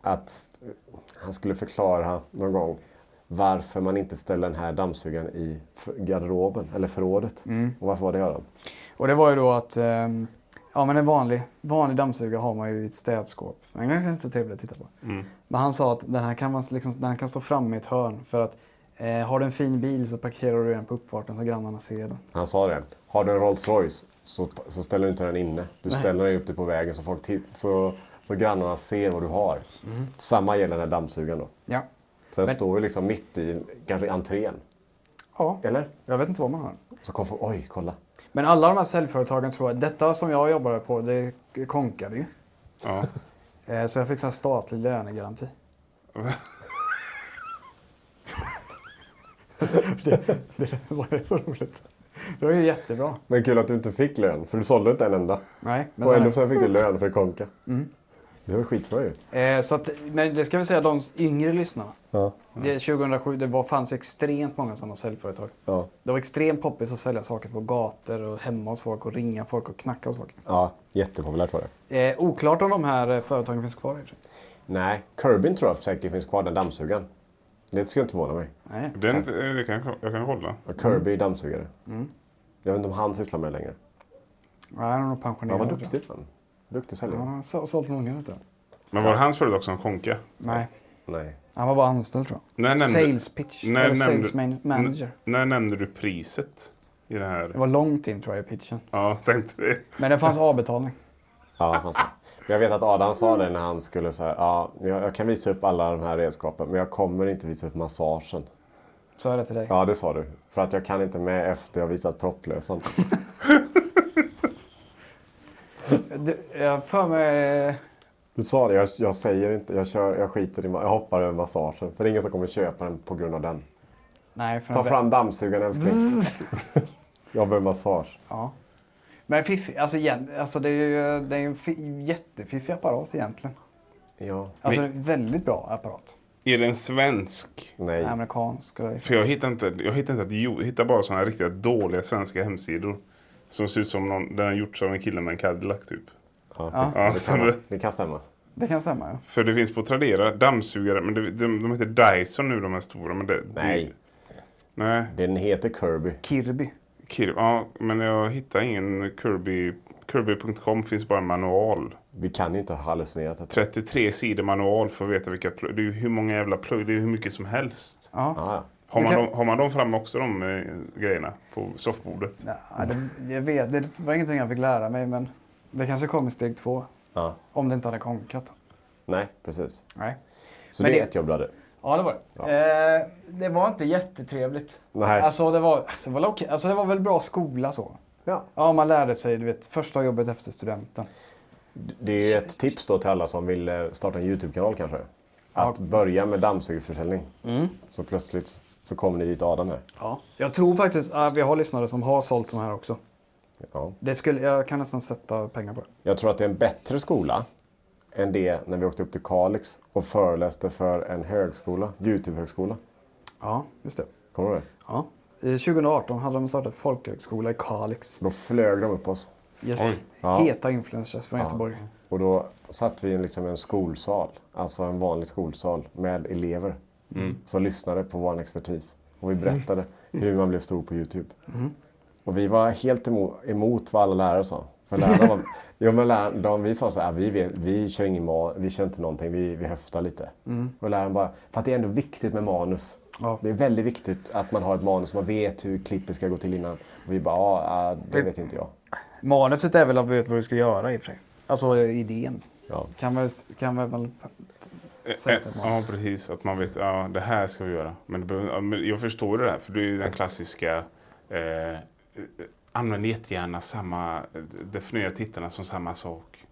[SPEAKER 3] att eh, han skulle förklara någon gång varför man inte ställer den här dammsugaren i f- garderoben eller förrådet. Och varför var det Göran?
[SPEAKER 2] Och det var ju då att ehm, ja, men en vanlig, vanlig dammsugare har man ju i ett städskåp. Den är inte så trevlig att titta på. Men han sa att den här kan, man liksom, den här kan stå framme i ett hörn för att eh, har du en fin bil så parkerar du den på uppfarten så grannarna ser den.
[SPEAKER 3] Han sa det. Har du en Rolls Royce så, så ställer du inte den inne. Du ställer den upp dig på vägen så, folk titt, så, så grannarna ser vad du har. Samma gäller den här dammsugaren då.
[SPEAKER 2] Ja.
[SPEAKER 3] Så den står ju liksom mitt i, kanske i entrén.
[SPEAKER 2] ja.
[SPEAKER 3] Eller?
[SPEAKER 2] Jag vet inte vad man har.
[SPEAKER 3] Så kom folk, oj, kolla.
[SPEAKER 2] Men alla de här säljföretagen tror att detta som jag jobbade på, det konkade ju.
[SPEAKER 1] ja.
[SPEAKER 2] Eh, så jag fick så här statlig lönegaranti. det, det var ju så roligt. Det var ju jättebra.
[SPEAKER 3] Men kul att du inte fick lön, för du sålde inte en enda.
[SPEAKER 2] Nej, men
[SPEAKER 3] Och
[SPEAKER 2] sen-
[SPEAKER 3] ändå så Mm. fick du lön för konka. Det var skitbra ju.
[SPEAKER 2] Eh, så att, men det ska vi säga, de yngre lyssnarna.
[SPEAKER 3] Ja.
[SPEAKER 2] Det, 2007 det var, fanns ju extremt många sådana säljföretag.
[SPEAKER 3] Ja.
[SPEAKER 2] Det var extremt poppis att sälja saker på gator och hemma hos folk och ringa folk och knacka hos folk.
[SPEAKER 3] ja, jättepopulärt var det.
[SPEAKER 2] Eh, oklart om de här eh, företagen finns kvar. i och för sig.
[SPEAKER 3] Nej, Kirbyn tror jag säkert finns kvar, den dammsugaren. Det skulle inte förvåna mig.
[SPEAKER 2] Nej.
[SPEAKER 1] Den, eh, det kan, jag- jag kan kolla.
[SPEAKER 3] Och Kirby är dammsugare. Jag vet inte om han sysslar med Mm. det längre.
[SPEAKER 2] Nej, han är nog
[SPEAKER 3] Han
[SPEAKER 2] pensionerad.
[SPEAKER 3] var
[SPEAKER 2] tror jag.
[SPEAKER 3] duktig. Man. Duktig säljare.
[SPEAKER 2] Ja, Han har så- sålt många vet du.
[SPEAKER 1] Men var det hans företag som konka?
[SPEAKER 2] Nej,
[SPEAKER 3] Nej.
[SPEAKER 2] han var bara anställd tror jag.
[SPEAKER 1] När nämnde-
[SPEAKER 2] sales pitch.
[SPEAKER 1] när
[SPEAKER 2] eller
[SPEAKER 1] nämnde-
[SPEAKER 2] sales man- manager.
[SPEAKER 1] N- när nämnde du priset? I det
[SPEAKER 2] Det
[SPEAKER 1] här?
[SPEAKER 2] var långt in tror jag i pitchen.
[SPEAKER 1] Ja, tänkte det.
[SPEAKER 2] Men det fanns avbetalning.
[SPEAKER 3] Ja, det fanns det. Men jag vet att Adam sa det när han skulle så här, ja, jag, jag kan visa upp alla de här redskapen men jag kommer inte visa upp massagen.
[SPEAKER 2] Så är det till dig.
[SPEAKER 3] Ja, det sa du. För att jag kan inte med efter jag visat propplösan.
[SPEAKER 2] Du, jag för mig...
[SPEAKER 3] Du sa det, jag, jag säger inte, jag, kör, jag skiter i, ma- jag hoppar över massagen. För det är ingen som kommer köpa den på grund av den.
[SPEAKER 2] Nej, för
[SPEAKER 3] Ta
[SPEAKER 2] en vä-
[SPEAKER 3] fram dammsugaren älskling. jag behöver massage.
[SPEAKER 2] Ja. Men fiffig, alltså, igen, alltså det är ju det är ju en fi- jättefiffig apparat egentligen.
[SPEAKER 3] Ja.
[SPEAKER 2] Alltså en väldigt bra apparat.
[SPEAKER 1] Är den svensk?
[SPEAKER 3] Nej.
[SPEAKER 2] Amerikansk. och det-
[SPEAKER 1] För jag hittar inte, jag hittar inte att jo, jag hittar bara sådana riktigt dåliga svenska hemsidor. Som ser ut som någon, den är gjort som en kille med en Cadillac typ.
[SPEAKER 3] Ja,
[SPEAKER 1] Ja,
[SPEAKER 3] det,
[SPEAKER 1] så
[SPEAKER 3] kan,
[SPEAKER 1] det-
[SPEAKER 3] det kan stämma.
[SPEAKER 2] Det kan stämma ja.
[SPEAKER 1] För det finns på Tradera dammsugare, men det, de, de heter Dyson nu de här stora. Men det, Mm.
[SPEAKER 3] Nej,
[SPEAKER 1] Det, nej.
[SPEAKER 3] den heter Kirby.
[SPEAKER 2] Kirby.
[SPEAKER 1] Kirby, ja, men jag hittar ingen Kirby. Kirby.com finns bara en manual.
[SPEAKER 3] Vi kan ju inte ha hallucinerat detta.
[SPEAKER 1] 33 sidor manual för att veta vilka plugg. Det är ju hur många jävla plugg, det är ju hur mycket som helst.
[SPEAKER 2] Ja.
[SPEAKER 3] Ah, ja.
[SPEAKER 1] Har man,
[SPEAKER 2] Du kan-
[SPEAKER 1] dem, har man dem framme också, de eh, grejerna på soffbordet?
[SPEAKER 2] Nej, det, jag vet, det var ingenting jag fick lära mig men det kanske kom i steg två.
[SPEAKER 3] Ja.
[SPEAKER 2] Om det inte hade konkat.
[SPEAKER 3] Nej, precis.
[SPEAKER 2] Nej.
[SPEAKER 3] Så
[SPEAKER 2] Men
[SPEAKER 3] det är
[SPEAKER 2] det-
[SPEAKER 3] ett jobb du hade.
[SPEAKER 2] Ja, det var det. Eh, det var inte jättetrevligt.
[SPEAKER 3] Nej.
[SPEAKER 2] Alltså, det var, alltså, det var, okej. alltså, det var väl bra skola så.
[SPEAKER 3] Ja.
[SPEAKER 2] Ja, man lärde sig, du vet, första jobbet efter studenten.
[SPEAKER 3] Det är ju ett tips då till alla som vill eh, starta en YouTube-kanal kanske. Att börja med dammsugarförsäljning. Så plötsligt så kommer ni dit Adam här.
[SPEAKER 2] Ja. Jag tror faktiskt att vi har lyssnare som har sålt de här också.
[SPEAKER 3] Ja.
[SPEAKER 2] Det skulle, jag kan nästan sätta pengar på det.
[SPEAKER 3] Jag tror att det är en bättre skola än det när vi åkte upp till Kalix och föreläste för en högskola, YouTube-högskola.
[SPEAKER 2] Ja, just det.
[SPEAKER 3] Kommer du ihåg det?
[SPEAKER 2] Ja. I 2018 hade de startat folkhögskola i Kalix.
[SPEAKER 3] Då flög de upp oss.
[SPEAKER 2] Yes.
[SPEAKER 3] Ja.
[SPEAKER 2] Heta influencers från Göteborg.
[SPEAKER 3] Och då satt vi i en- liksom en skolsal, alltså en vanlig skolsal med elever som lyssnade på vår expertis. Och vi berättade hur man blev stor på Youtube. Och vi var helt emot, emot vad alla lärare sa. För lärarna var, jo, men lärarna, de, vi sa så här, "Ah, vi, vet- vi kör ingen ma- vi kör inte någonting, vi, vi höftar lite. Och läraren bara, för att det är ändå viktigt med manus.
[SPEAKER 2] Ja.
[SPEAKER 3] Det är väldigt viktigt att man har ett manus, man vet hur klippet ska gå till innan. Och vi bara, ja, äh, det vet inte jag.
[SPEAKER 2] Manuset är väl att veta vad du ska göra i och för sig. Alltså idén.
[SPEAKER 3] Ja.
[SPEAKER 2] Kan väl, kan väl
[SPEAKER 1] Eh,
[SPEAKER 2] säga till
[SPEAKER 1] Ja, precis. Att man vet, ja, det här ska vi göra. Men, det behöver- ja, men jag förstår det där, för det är ju den klassiska eh, eh, Använd jättegärna samma, eh, definiera tittarna som samma sak.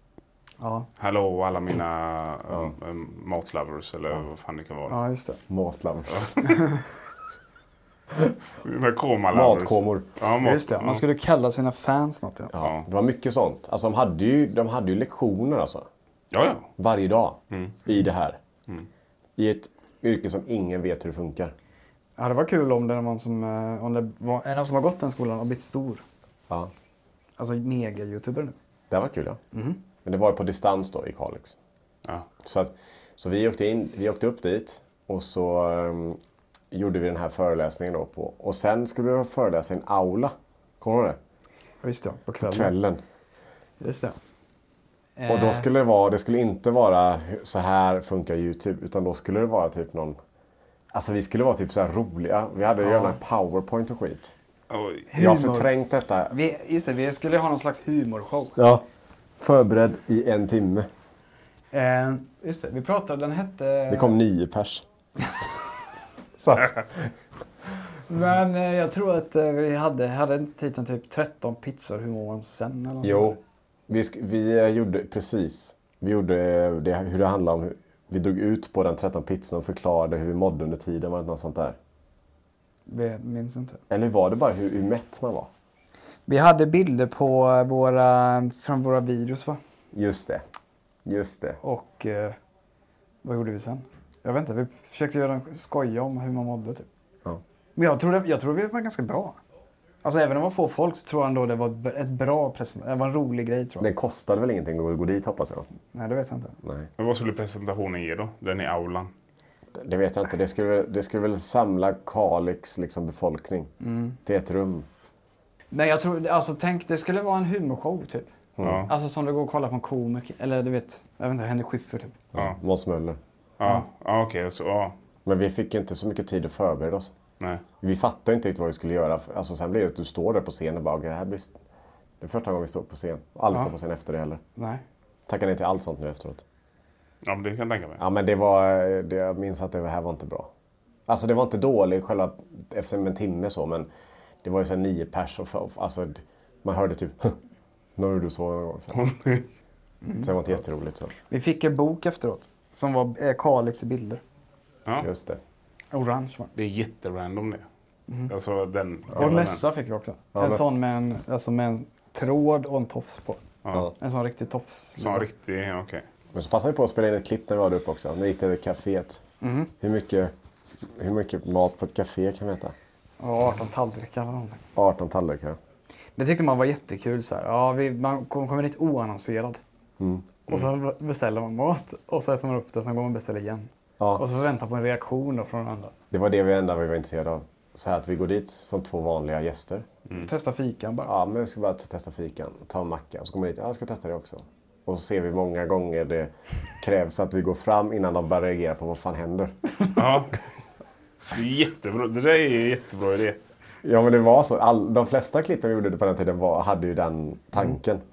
[SPEAKER 2] Ja.
[SPEAKER 1] Hallå alla mina eh, eh, matlovers eller vad fan det kan vara.
[SPEAKER 2] ja, just det.
[SPEAKER 3] Matlovers.
[SPEAKER 1] Mina komalovers.
[SPEAKER 3] Matkomor.
[SPEAKER 1] Ja, mat,
[SPEAKER 2] Just det.
[SPEAKER 1] ja.
[SPEAKER 2] Man skulle kalla sina fans något. Ja.
[SPEAKER 1] Ja.
[SPEAKER 3] Det var mycket sånt. Alltså, de, hade ju, de hade ju lektioner alltså,
[SPEAKER 1] ja, ja.
[SPEAKER 3] varje dag i det här. I ett yrke som ingen vet hur det funkar.
[SPEAKER 2] Ja, det var kul om det, var någon som, eh, om det var en som har gått den skolan och blivit stor.
[SPEAKER 3] Ja.
[SPEAKER 2] Alltså mega-youtuber nu.
[SPEAKER 3] Det var kul ja. Men det var ju på distans då i Kalix.
[SPEAKER 1] ja.
[SPEAKER 3] Så, att, så vi, åkte in, vi åkte upp dit och så ehm, gjorde vi den här föreläsningen då. På, och sen skulle vi föreläsa i en aula. Kommer du ihåg det?
[SPEAKER 2] Ja, Just det, på kvällen.
[SPEAKER 3] Kvällen.
[SPEAKER 2] Just det. Eh,
[SPEAKER 3] Och då skulle det vara, det skulle inte vara hu- så här funkar YouTube, utan då skulle det vara typ någon... Alltså vi skulle vara typ så här roliga. Vi hade ju gärna en powerpoint och skit.
[SPEAKER 1] Oj.
[SPEAKER 3] Jag har förträngt detta.
[SPEAKER 2] Vi, just det, vi skulle ha någon slags humorshow.
[SPEAKER 3] Ja. Förberedd i en timme.
[SPEAKER 2] Eh, just det, vi pratade, den hette...
[SPEAKER 3] Det kom nio pers.
[SPEAKER 2] Men eh, jag tror att eh, vi hade, hade inte titeln typ 13 pizzor, hur mår man sen? Eller något.
[SPEAKER 3] Jo. Vi, sk- vi eh, gjorde precis. Vi gjorde eh, det, hur det handlade om. hur- Vi drog ut på den 13 pizzan och förklarade hur vi mådde under tiden. Var det något sånt där?
[SPEAKER 2] Vi minns inte.
[SPEAKER 3] Eller var det bara hur, hur mätt man var?
[SPEAKER 2] Vi hade bilder på eh, våra, från våra videos va?
[SPEAKER 3] Just det. Just det.
[SPEAKER 2] Och eh, vad gjorde vi sen? Jag vet inte, vi försökte göra en skoja om hur man mådde typ.
[SPEAKER 3] Ja.
[SPEAKER 2] Men jag tror, det, jag tror vi var ganska bra. Alltså även om det var få folk så tror jag ändå det var ett- ett bra presentation. Det var en rolig grej tror jag.
[SPEAKER 3] Den kostade väl ingenting att gå dit hoppas jag.
[SPEAKER 2] Nej, det vet jag inte.
[SPEAKER 3] Nej.
[SPEAKER 1] Men vad skulle presentationen ge då? Den i aulan?
[SPEAKER 3] Det vet jag inte. Det skulle, väl- det skulle väl samla Kalix liksom, befolkning till ett rum.
[SPEAKER 2] Nej, jag tror, alltså tänk det skulle vara en humorshow typ.
[SPEAKER 1] Ja.
[SPEAKER 2] Alltså som du går och kollar på en komiker, eller du vet, jag vet inte, Henrik Schyffert typ.
[SPEAKER 1] Ja.
[SPEAKER 3] Måns Möller.
[SPEAKER 1] Ja, ja okej. så, ja.
[SPEAKER 3] Men vi fick inte så mycket tid att förbereda oss.
[SPEAKER 1] Nej.
[SPEAKER 3] Vi fattade inte riktigt vad vi skulle göra. Alltså, sen blev det att du står där på scen och bara, "Okej, det här blir... st- Det är första gången vi står på scen. Och Aldrig står på scen efter det heller.
[SPEAKER 2] Nej.
[SPEAKER 3] Tackar nej till allt sånt nu efteråt.
[SPEAKER 1] Ja, men det kan jag tänka mig.
[SPEAKER 3] Ja, men det var... Det, jag minns att det här var inte bra. Alltså det var inte dåligt själva efter en timme så, men det var ju sen nio pers och, och alltså, d- man hörde typ Nu gjorde du så någon gång. Sen.
[SPEAKER 1] Mm.
[SPEAKER 3] sen var det inte jätteroligt. Så.
[SPEAKER 2] Vi fick en bok efteråt som var eh, Kalix i bilder.
[SPEAKER 1] Ja.
[SPEAKER 3] Just det.
[SPEAKER 2] Orange var den.
[SPEAKER 1] Det är jätterandom det. Alltså den.
[SPEAKER 2] Och en mössa fick vi också. en
[SPEAKER 3] mössa.
[SPEAKER 2] sån med en, alltså med en tråd och en tofs på.
[SPEAKER 1] Ja.
[SPEAKER 2] En sån riktig tofs.
[SPEAKER 1] Som en riktig, ja, okej.
[SPEAKER 3] Men så passade vi på att spela in ett klipp när vi var där uppe också. När vi gick till kaféet.
[SPEAKER 1] Mm.
[SPEAKER 3] Hur, mycket, hur mycket mat på ett café kan vi äta?
[SPEAKER 2] Ja, 18 tallrikar eller någonting.
[SPEAKER 3] 18 tallrikar.
[SPEAKER 2] Det tyckte man var jättekul. Så här. Ja, vi, man kom- kommer dit oannonserad. Och så beställer man mat och så äter man upp det och sen går man och beställer igen.
[SPEAKER 3] Ja.
[SPEAKER 2] Och så väntar på en reaktion då från den andra.
[SPEAKER 3] Det var det vi enda vi var intresserade av. Så här att vi går dit som två vanliga gäster.
[SPEAKER 2] Testa fikan bara.
[SPEAKER 3] Mm. Ja, men jag ska bara testa fikan, ta en macka. Och så kommer man dit, ja, jag ska testa det också. Och så ser vi många gånger det krävs att vi går fram innan de börjar reagera på vad fan händer.
[SPEAKER 1] Ja. Det är jättebra. Det där är en jättebra idé.
[SPEAKER 3] Ja, men det var så. All, de flesta klippen vi gjorde på den tiden var, hade ju den tanken.
[SPEAKER 1] Mm.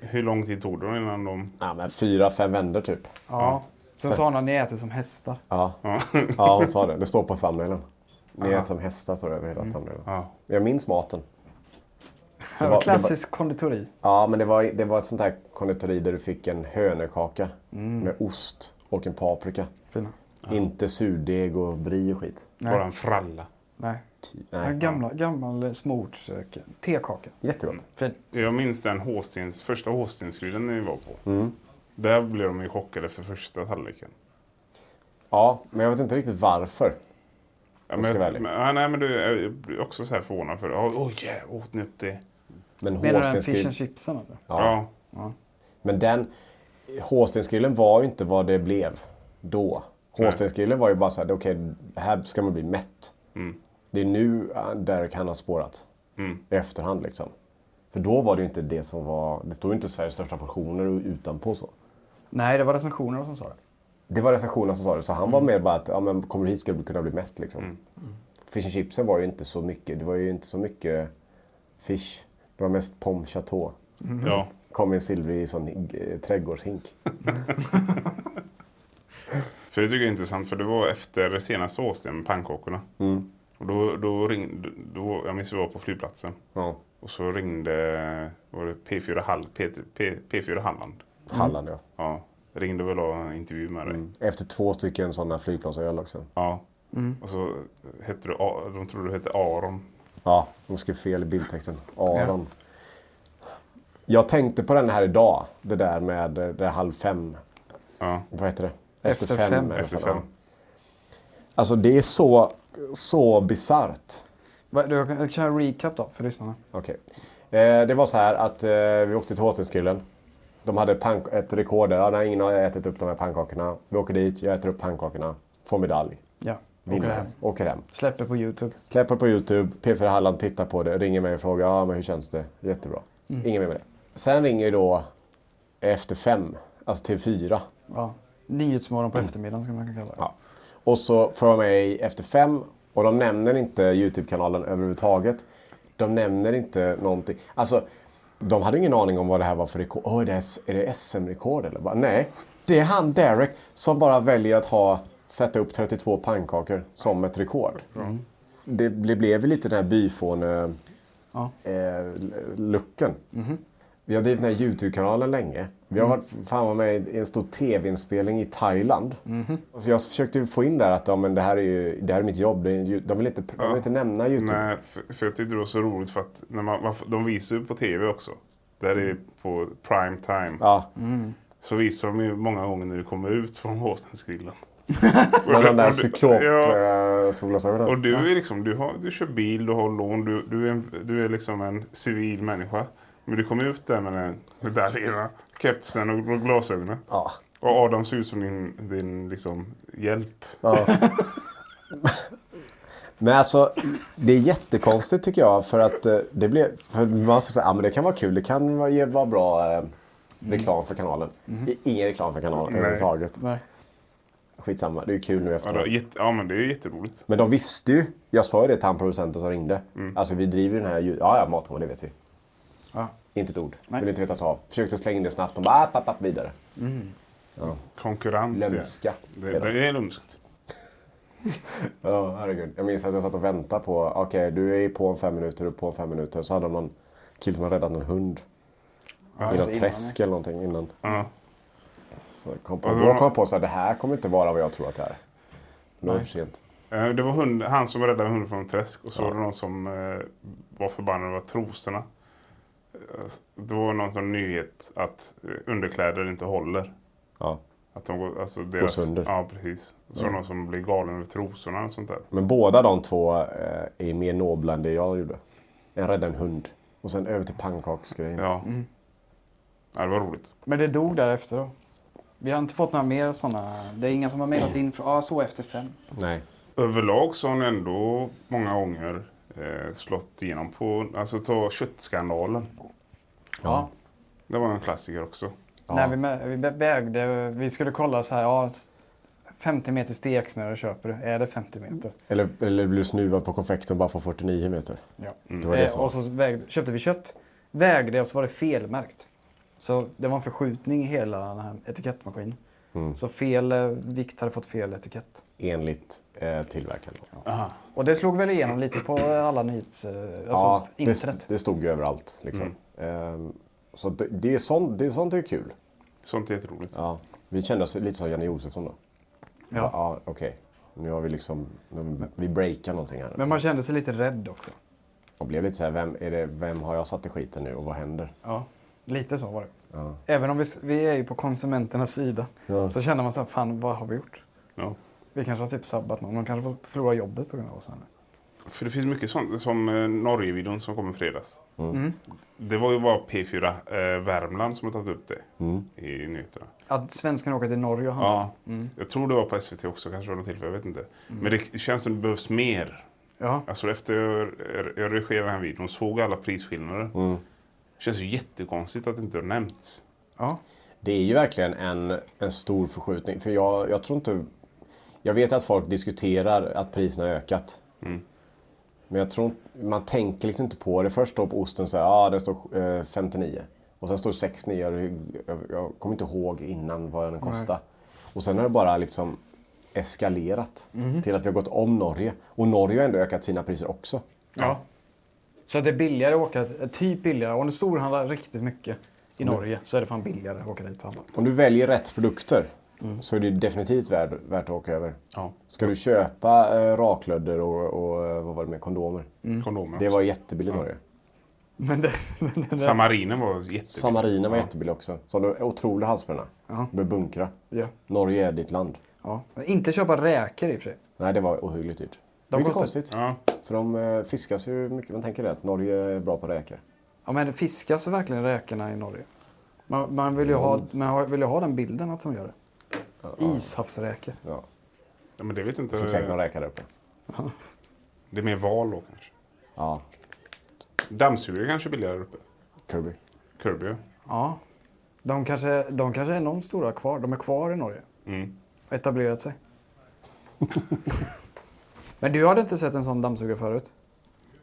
[SPEAKER 1] Hur lång tid tog det innan de...
[SPEAKER 3] Ja, men fyra, fem vändor typ.
[SPEAKER 2] Ja. Sen sa hon att ni äter som hästar.
[SPEAKER 3] Ja. ja, hon sa det. Det står på thumbnailen. Ni äter som hästar, står det över hela
[SPEAKER 2] Mm.
[SPEAKER 3] thumbnailen.
[SPEAKER 1] Ja.
[SPEAKER 3] Jag minns maten.
[SPEAKER 2] Det
[SPEAKER 3] var-
[SPEAKER 2] var, Klassisk konditori.
[SPEAKER 3] Ja, men det var, det var ett sånt här konditori där du fick en hönökaka
[SPEAKER 2] Mm.
[SPEAKER 3] med ost och en paprika.
[SPEAKER 2] Fina.
[SPEAKER 3] Inte surdeg och brie och skit.
[SPEAKER 2] Nej.
[SPEAKER 1] Bara en fralla.
[SPEAKER 2] Nej.
[SPEAKER 3] Nej.
[SPEAKER 2] Nej. Gamla, gammal smorts... eh, Tekaka.
[SPEAKER 3] Jättegott.
[SPEAKER 2] Fin.
[SPEAKER 1] Jag minns den håstins, första håstensgrillen ni var på. Där blev de ju chockade för första tallriken.
[SPEAKER 3] Ja, men jag vet inte riktigt varför.
[SPEAKER 1] Ja,
[SPEAKER 3] Jag
[SPEAKER 1] men,
[SPEAKER 3] ska vara
[SPEAKER 1] jag,
[SPEAKER 3] ärlig.
[SPEAKER 1] men, ja, nej, men du, jag blir också så här förvånad för Åh, oh, yeah, åt ni upp det?
[SPEAKER 3] Men
[SPEAKER 2] Menar du den
[SPEAKER 3] Håstensgrill-
[SPEAKER 2] fish and chipsen eller?
[SPEAKER 1] Ja.
[SPEAKER 3] Men den... Håstensgrillen var ju inte vad det blev då. Håstensgrillen var ju bara så här, okej, här ska man bli mätt. Det är nu eh, där han har spårat. I efterhand liksom. För då var det ju inte det som var... Det stod ju inte Sveriges största portioner utanpå så.
[SPEAKER 2] Nej, det var recensionerna som sa det.
[SPEAKER 3] Det var recensionerna som sa det, så han var mer bara att ja, men kommer du hit ska du kunna bli mätt. Liksom. Fish and chipsen var ju inte så mycket. Det var ju inte så mycket fish. Det var mest pommes chateau.
[SPEAKER 1] ja.
[SPEAKER 3] Kom i en silvrig sån eh, trädgårdshink.
[SPEAKER 1] För det tycker jag är intressant, för det var efter det senaste Austin, med pannkakorna.
[SPEAKER 3] Mm.
[SPEAKER 1] Och då, då ringde, då, jag minns vi var på flygplatsen.
[SPEAKER 3] Ja.
[SPEAKER 1] Och så ringde var det P4, Hall, P, P, P4 Halland.
[SPEAKER 3] Halland ja.
[SPEAKER 1] Ja, ringde väl och ha en intervju med dig.
[SPEAKER 3] Efter två stycken sådana flygplansöl också.
[SPEAKER 1] Ja. Och så hette du, A- de trodde du hette Aron.
[SPEAKER 3] Ja, de skrev fel i bildtexten. Aron. Jag tänkte på den här idag. Det där med eh, det där halv fem.
[SPEAKER 1] Ja.
[SPEAKER 3] Vad heter det?
[SPEAKER 2] Efter fem.
[SPEAKER 3] i alla
[SPEAKER 1] Efter
[SPEAKER 3] fall, ja.
[SPEAKER 1] fem.
[SPEAKER 3] Alltså det är så, så bisarrt.
[SPEAKER 2] Va- Du, jag kan- jag kan köra recap då för lyssnarna.
[SPEAKER 3] Okej. Eh, det var så här att eh, vi åkte till Håstenskillen. De hade pank- ett rekord där. Ja, nej, ingen har ätit upp de här pannkakorna. Vi åker dit, jag äter upp pannkakorna. Får medalj.
[SPEAKER 2] Ja.
[SPEAKER 3] Vinner.
[SPEAKER 2] Åker hem.
[SPEAKER 3] Åker hem.
[SPEAKER 2] Släpper på YouTube.
[SPEAKER 3] Kläpper på Youtube, P4 Halland tittar på det, ringer mig och frågar ja, men hur känns det? Jättebra. Mm. Ingen mer med det. Sen ringer ju då efter fem, alltså till fyra.
[SPEAKER 2] Ja. Nyhetsmorgon på eftermiddagen skulle man kunna kalla det.
[SPEAKER 3] Mm. Ja. Och så får de mig efter fem och de nämner inte Youtube-kanalen överhuvudtaget. De nämner inte någonting. Alltså, de hade ingen aning om vad det här var för rekord. Åh, är det, S- är det SM-rekord eller? Bara, nej, det är han Derek som bara väljer att ha, sätta upp 32 pannkakor som ett rekord. Det, det blev ju lite den här byfåne
[SPEAKER 2] Ja.
[SPEAKER 3] eh, lucken.
[SPEAKER 1] Mhm.
[SPEAKER 3] Vi har drivit den här Youtube-kanalen länge. Vi
[SPEAKER 1] Mm.
[SPEAKER 3] har varit fan var med i en stor tv-inspelning i Thailand.
[SPEAKER 1] Mhm.
[SPEAKER 3] Och Så jag försökte ju få in där att ja, men det, här är ju, det här är mitt jobb. Det är, ju- de, vill inte, de vill inte nämna Youtube.
[SPEAKER 1] Nej, för, för jag tyckte det var så roligt för att när man, man, de visar ju på tv också. Där det är på prime time.
[SPEAKER 3] Ja,
[SPEAKER 1] Mm. Så visar de ju många gånger när du kommer ut från Håstensgrillen.
[SPEAKER 3] med
[SPEAKER 1] Och
[SPEAKER 3] de där eh,
[SPEAKER 1] du- Ja,
[SPEAKER 3] cyklop-solglasögonen.
[SPEAKER 1] och du är liksom, du, har, du kör bil, du har lån, du, du, är, en, du är liksom en civil människa. Men du kommer ut där med den med medaljerna, kepsen och, och glasögonen.
[SPEAKER 3] Ja.
[SPEAKER 1] Och Adam ser ut som din, din liksom, hjälp.
[SPEAKER 3] Men alltså, det är jättekonstigt tycker jag. För att eh, det blev, för man ska säga, ah, men det kan vara kul, det kan vara, ge- vara bra
[SPEAKER 1] Mm.
[SPEAKER 3] eh, reklam för kanalen. I- Ingen reklam för kanalen överhuvudtaget.
[SPEAKER 2] Nej.
[SPEAKER 3] Skitsamma, det är kul nu
[SPEAKER 1] Ja,
[SPEAKER 3] efteråt.
[SPEAKER 1] det är jätte, ja men det är ju jätteroligt.
[SPEAKER 3] Men de visste ju. Jag sa ju det till han producenten som ringde. Alltså vi driver den här... ljud- Ja, ja, matgården, det vet vi.
[SPEAKER 2] Mm. Ja.
[SPEAKER 3] Inte ett ord.
[SPEAKER 2] Nej.
[SPEAKER 3] Vill inte vetas av. Försökte slänga in det snabbt. De bara, app, app, app, vidare.
[SPEAKER 1] Konkurrens. ja.
[SPEAKER 3] Lömska.
[SPEAKER 1] Det, det är lömskt.
[SPEAKER 3] Ja, herregud. Jag minns att jag satt och väntade på, okej, du är på om fem minuter, du är på om fem minuter. Så hade de någon kille som hade räddat någon hund. I något träsk eller någonting innan.
[SPEAKER 1] Ja.
[SPEAKER 3] Så jag kom på,
[SPEAKER 2] Alltså,
[SPEAKER 1] Ja, det
[SPEAKER 3] då
[SPEAKER 1] var-
[SPEAKER 3] kom jag på så här, det här kommer inte vara vad jag tror att det är. Nu är det för sent.
[SPEAKER 1] Eh, Det var hund, han som räddade hunden från ett träsk och så var det någon som eh, var förbannad över trosorna. Eh, Det var någon sån nyhet att eh, underkläder inte håller.
[SPEAKER 3] Ja.
[SPEAKER 1] Att de går, alltså deras,
[SPEAKER 3] sönder.
[SPEAKER 1] Ja, precis. Och så var det någon som blev galen över trosorna och sånt där.
[SPEAKER 3] Men båda de två eh, är mer nobla än det jag gjorde. En räddade en hund. Och sen över till pannkaksgrejen.
[SPEAKER 1] Ja. ja, det var roligt.
[SPEAKER 2] Men det dog därefter då. Vi har inte fått några mer sådana. Det är inga som har mejlat in från ah, så efter fem.
[SPEAKER 3] Nej.
[SPEAKER 1] Överlag så har ni ändå många gånger eh, slått igenom på, alltså ta köttskandalen.
[SPEAKER 2] Ja.
[SPEAKER 1] Det var en klassiker också.
[SPEAKER 2] När vi, mä- vi vä- vägde, vi skulle kolla så här, ja, s- 50 meter steksnöre köper du. Är det 50 meter?
[SPEAKER 3] Eller, eller blev snuvad på konfekten bara för 49 meter.
[SPEAKER 2] Ja.
[SPEAKER 3] Mm. Det var det
[SPEAKER 2] Eh,
[SPEAKER 3] som
[SPEAKER 2] och så vägde, köpte vi kött, vägde och så var det felmärkt. Så det var en förskjutning i hela den här etikettmaskinen.
[SPEAKER 3] Mm.
[SPEAKER 2] Så fel eh, vikt hade fått fel etikett.
[SPEAKER 3] enligt eh, tillverkaren. Ja,
[SPEAKER 2] Och det slog väl igenom lite på alla nyhets... eh, Alltså internet. Mm.
[SPEAKER 3] det, det stod ju överallt. Liksom. Ehm, så det, det, är sånt, det är sånt är kul.
[SPEAKER 1] Sånt är jätteroligt.
[SPEAKER 3] Ja. Vi kände oss lite som Janne Josefsson då. Ja.
[SPEAKER 2] Ja.
[SPEAKER 3] ja Okej, nu har vi liksom, nu, vi breakar någonting här.
[SPEAKER 2] Men man kände sig lite rädd också.
[SPEAKER 3] Och blev lite så här, vem, är det, vem har jag satt i skiten nu och vad händer?
[SPEAKER 2] Ja, lite så var det. Även om vi, s- vi är ju på konsumenternas sida
[SPEAKER 3] Ja.
[SPEAKER 2] så känner man så här, fan vad har vi gjort?
[SPEAKER 1] Ja.
[SPEAKER 2] Vi kanske har typ sabbat någon, man kanske får förlora jobbet på grund av oss. här nu.
[SPEAKER 1] För det finns mycket sånt som eh, Norgevideon som kommer fredags.
[SPEAKER 3] Mm.
[SPEAKER 1] Det var ju bara P4 eh, Värmland som har tagit upp det
[SPEAKER 3] Mm.
[SPEAKER 1] i nyheterna.
[SPEAKER 2] Att svenskarna åker till Norge och handlar.
[SPEAKER 1] Ja,
[SPEAKER 3] Mm.
[SPEAKER 1] jag tror det var på SVT också, kanske var något tillfälle, jag vet inte. Men det känns som det behövs mer.
[SPEAKER 2] Ja.
[SPEAKER 1] Alltså efter jag- jag redigerade den här videon såg alla prisskillnader. Mm. Känns ju jättekonstigt att det inte har nämnts.
[SPEAKER 2] ja.
[SPEAKER 3] Det är ju verkligen en, en stor förskjutning. För jag, jag tror inte... Jag vet att folk diskuterar att priserna har ökat. Men jag tror inte- man tänker liksom inte på det. Först står på osten så här, ja ah, den står eh, 59. Och sen står det 69. och det- Jag, jag kommer inte ihåg innan vad den kostade. Och sen har det bara liksom eskalerat till att vi har gått om Norge. Och Norge har ändå ökat sina priser också.
[SPEAKER 2] Ja. Så att det är billigare att åka, typ billigare. Om du storhandlar riktigt mycket i Norge så är det fan billigare att åka dit och handla.
[SPEAKER 3] Om du väljer rätt produkter så är det definitivt värd, värt att åka över.
[SPEAKER 1] Ja.
[SPEAKER 3] Ska du köpa eh, raklödder och, och eh, vad var det med, kondomer?
[SPEAKER 1] Kondomer
[SPEAKER 3] Det
[SPEAKER 1] också.
[SPEAKER 3] var jättebilligt i Norge.
[SPEAKER 2] Men det, men det,
[SPEAKER 1] Samarinen var jättebillig.
[SPEAKER 3] Samarinen var jättebillig också. Så du otroliga halsbränna. Du behöver bunkra.
[SPEAKER 2] Ja.
[SPEAKER 3] Norge är ditt land.
[SPEAKER 2] ja. Men inte köpa räkor i och för sig.
[SPEAKER 3] Nej, det var ohyggligt dyrt.
[SPEAKER 2] De
[SPEAKER 3] Lite
[SPEAKER 2] kostar-
[SPEAKER 3] konstigt.
[SPEAKER 1] Ja.
[SPEAKER 3] För de eh, fiskas ju mycket. Man tänker det, att Norge är bra på räkor.
[SPEAKER 2] Ja men det fiskas verkligen räkorna i Norge. Man, man, vill ju ha, man har- vill ju ha den bilden att de gör det. Ishavsräkor.
[SPEAKER 3] Ja.
[SPEAKER 1] Ja, men det vet inte.
[SPEAKER 3] Det finns säkert någon räka där uppe.
[SPEAKER 1] Det är mer val då kanske.
[SPEAKER 3] Ja,
[SPEAKER 1] Dammsugare kanske är billigare där uppe.
[SPEAKER 3] Kirby.
[SPEAKER 1] Kirby, ja.
[SPEAKER 2] Ja. De kanske, de kanske är enormt stora kvar. De är kvar i Norge. Och etablerat sig. men du hade inte sett en sån dammsugare förut?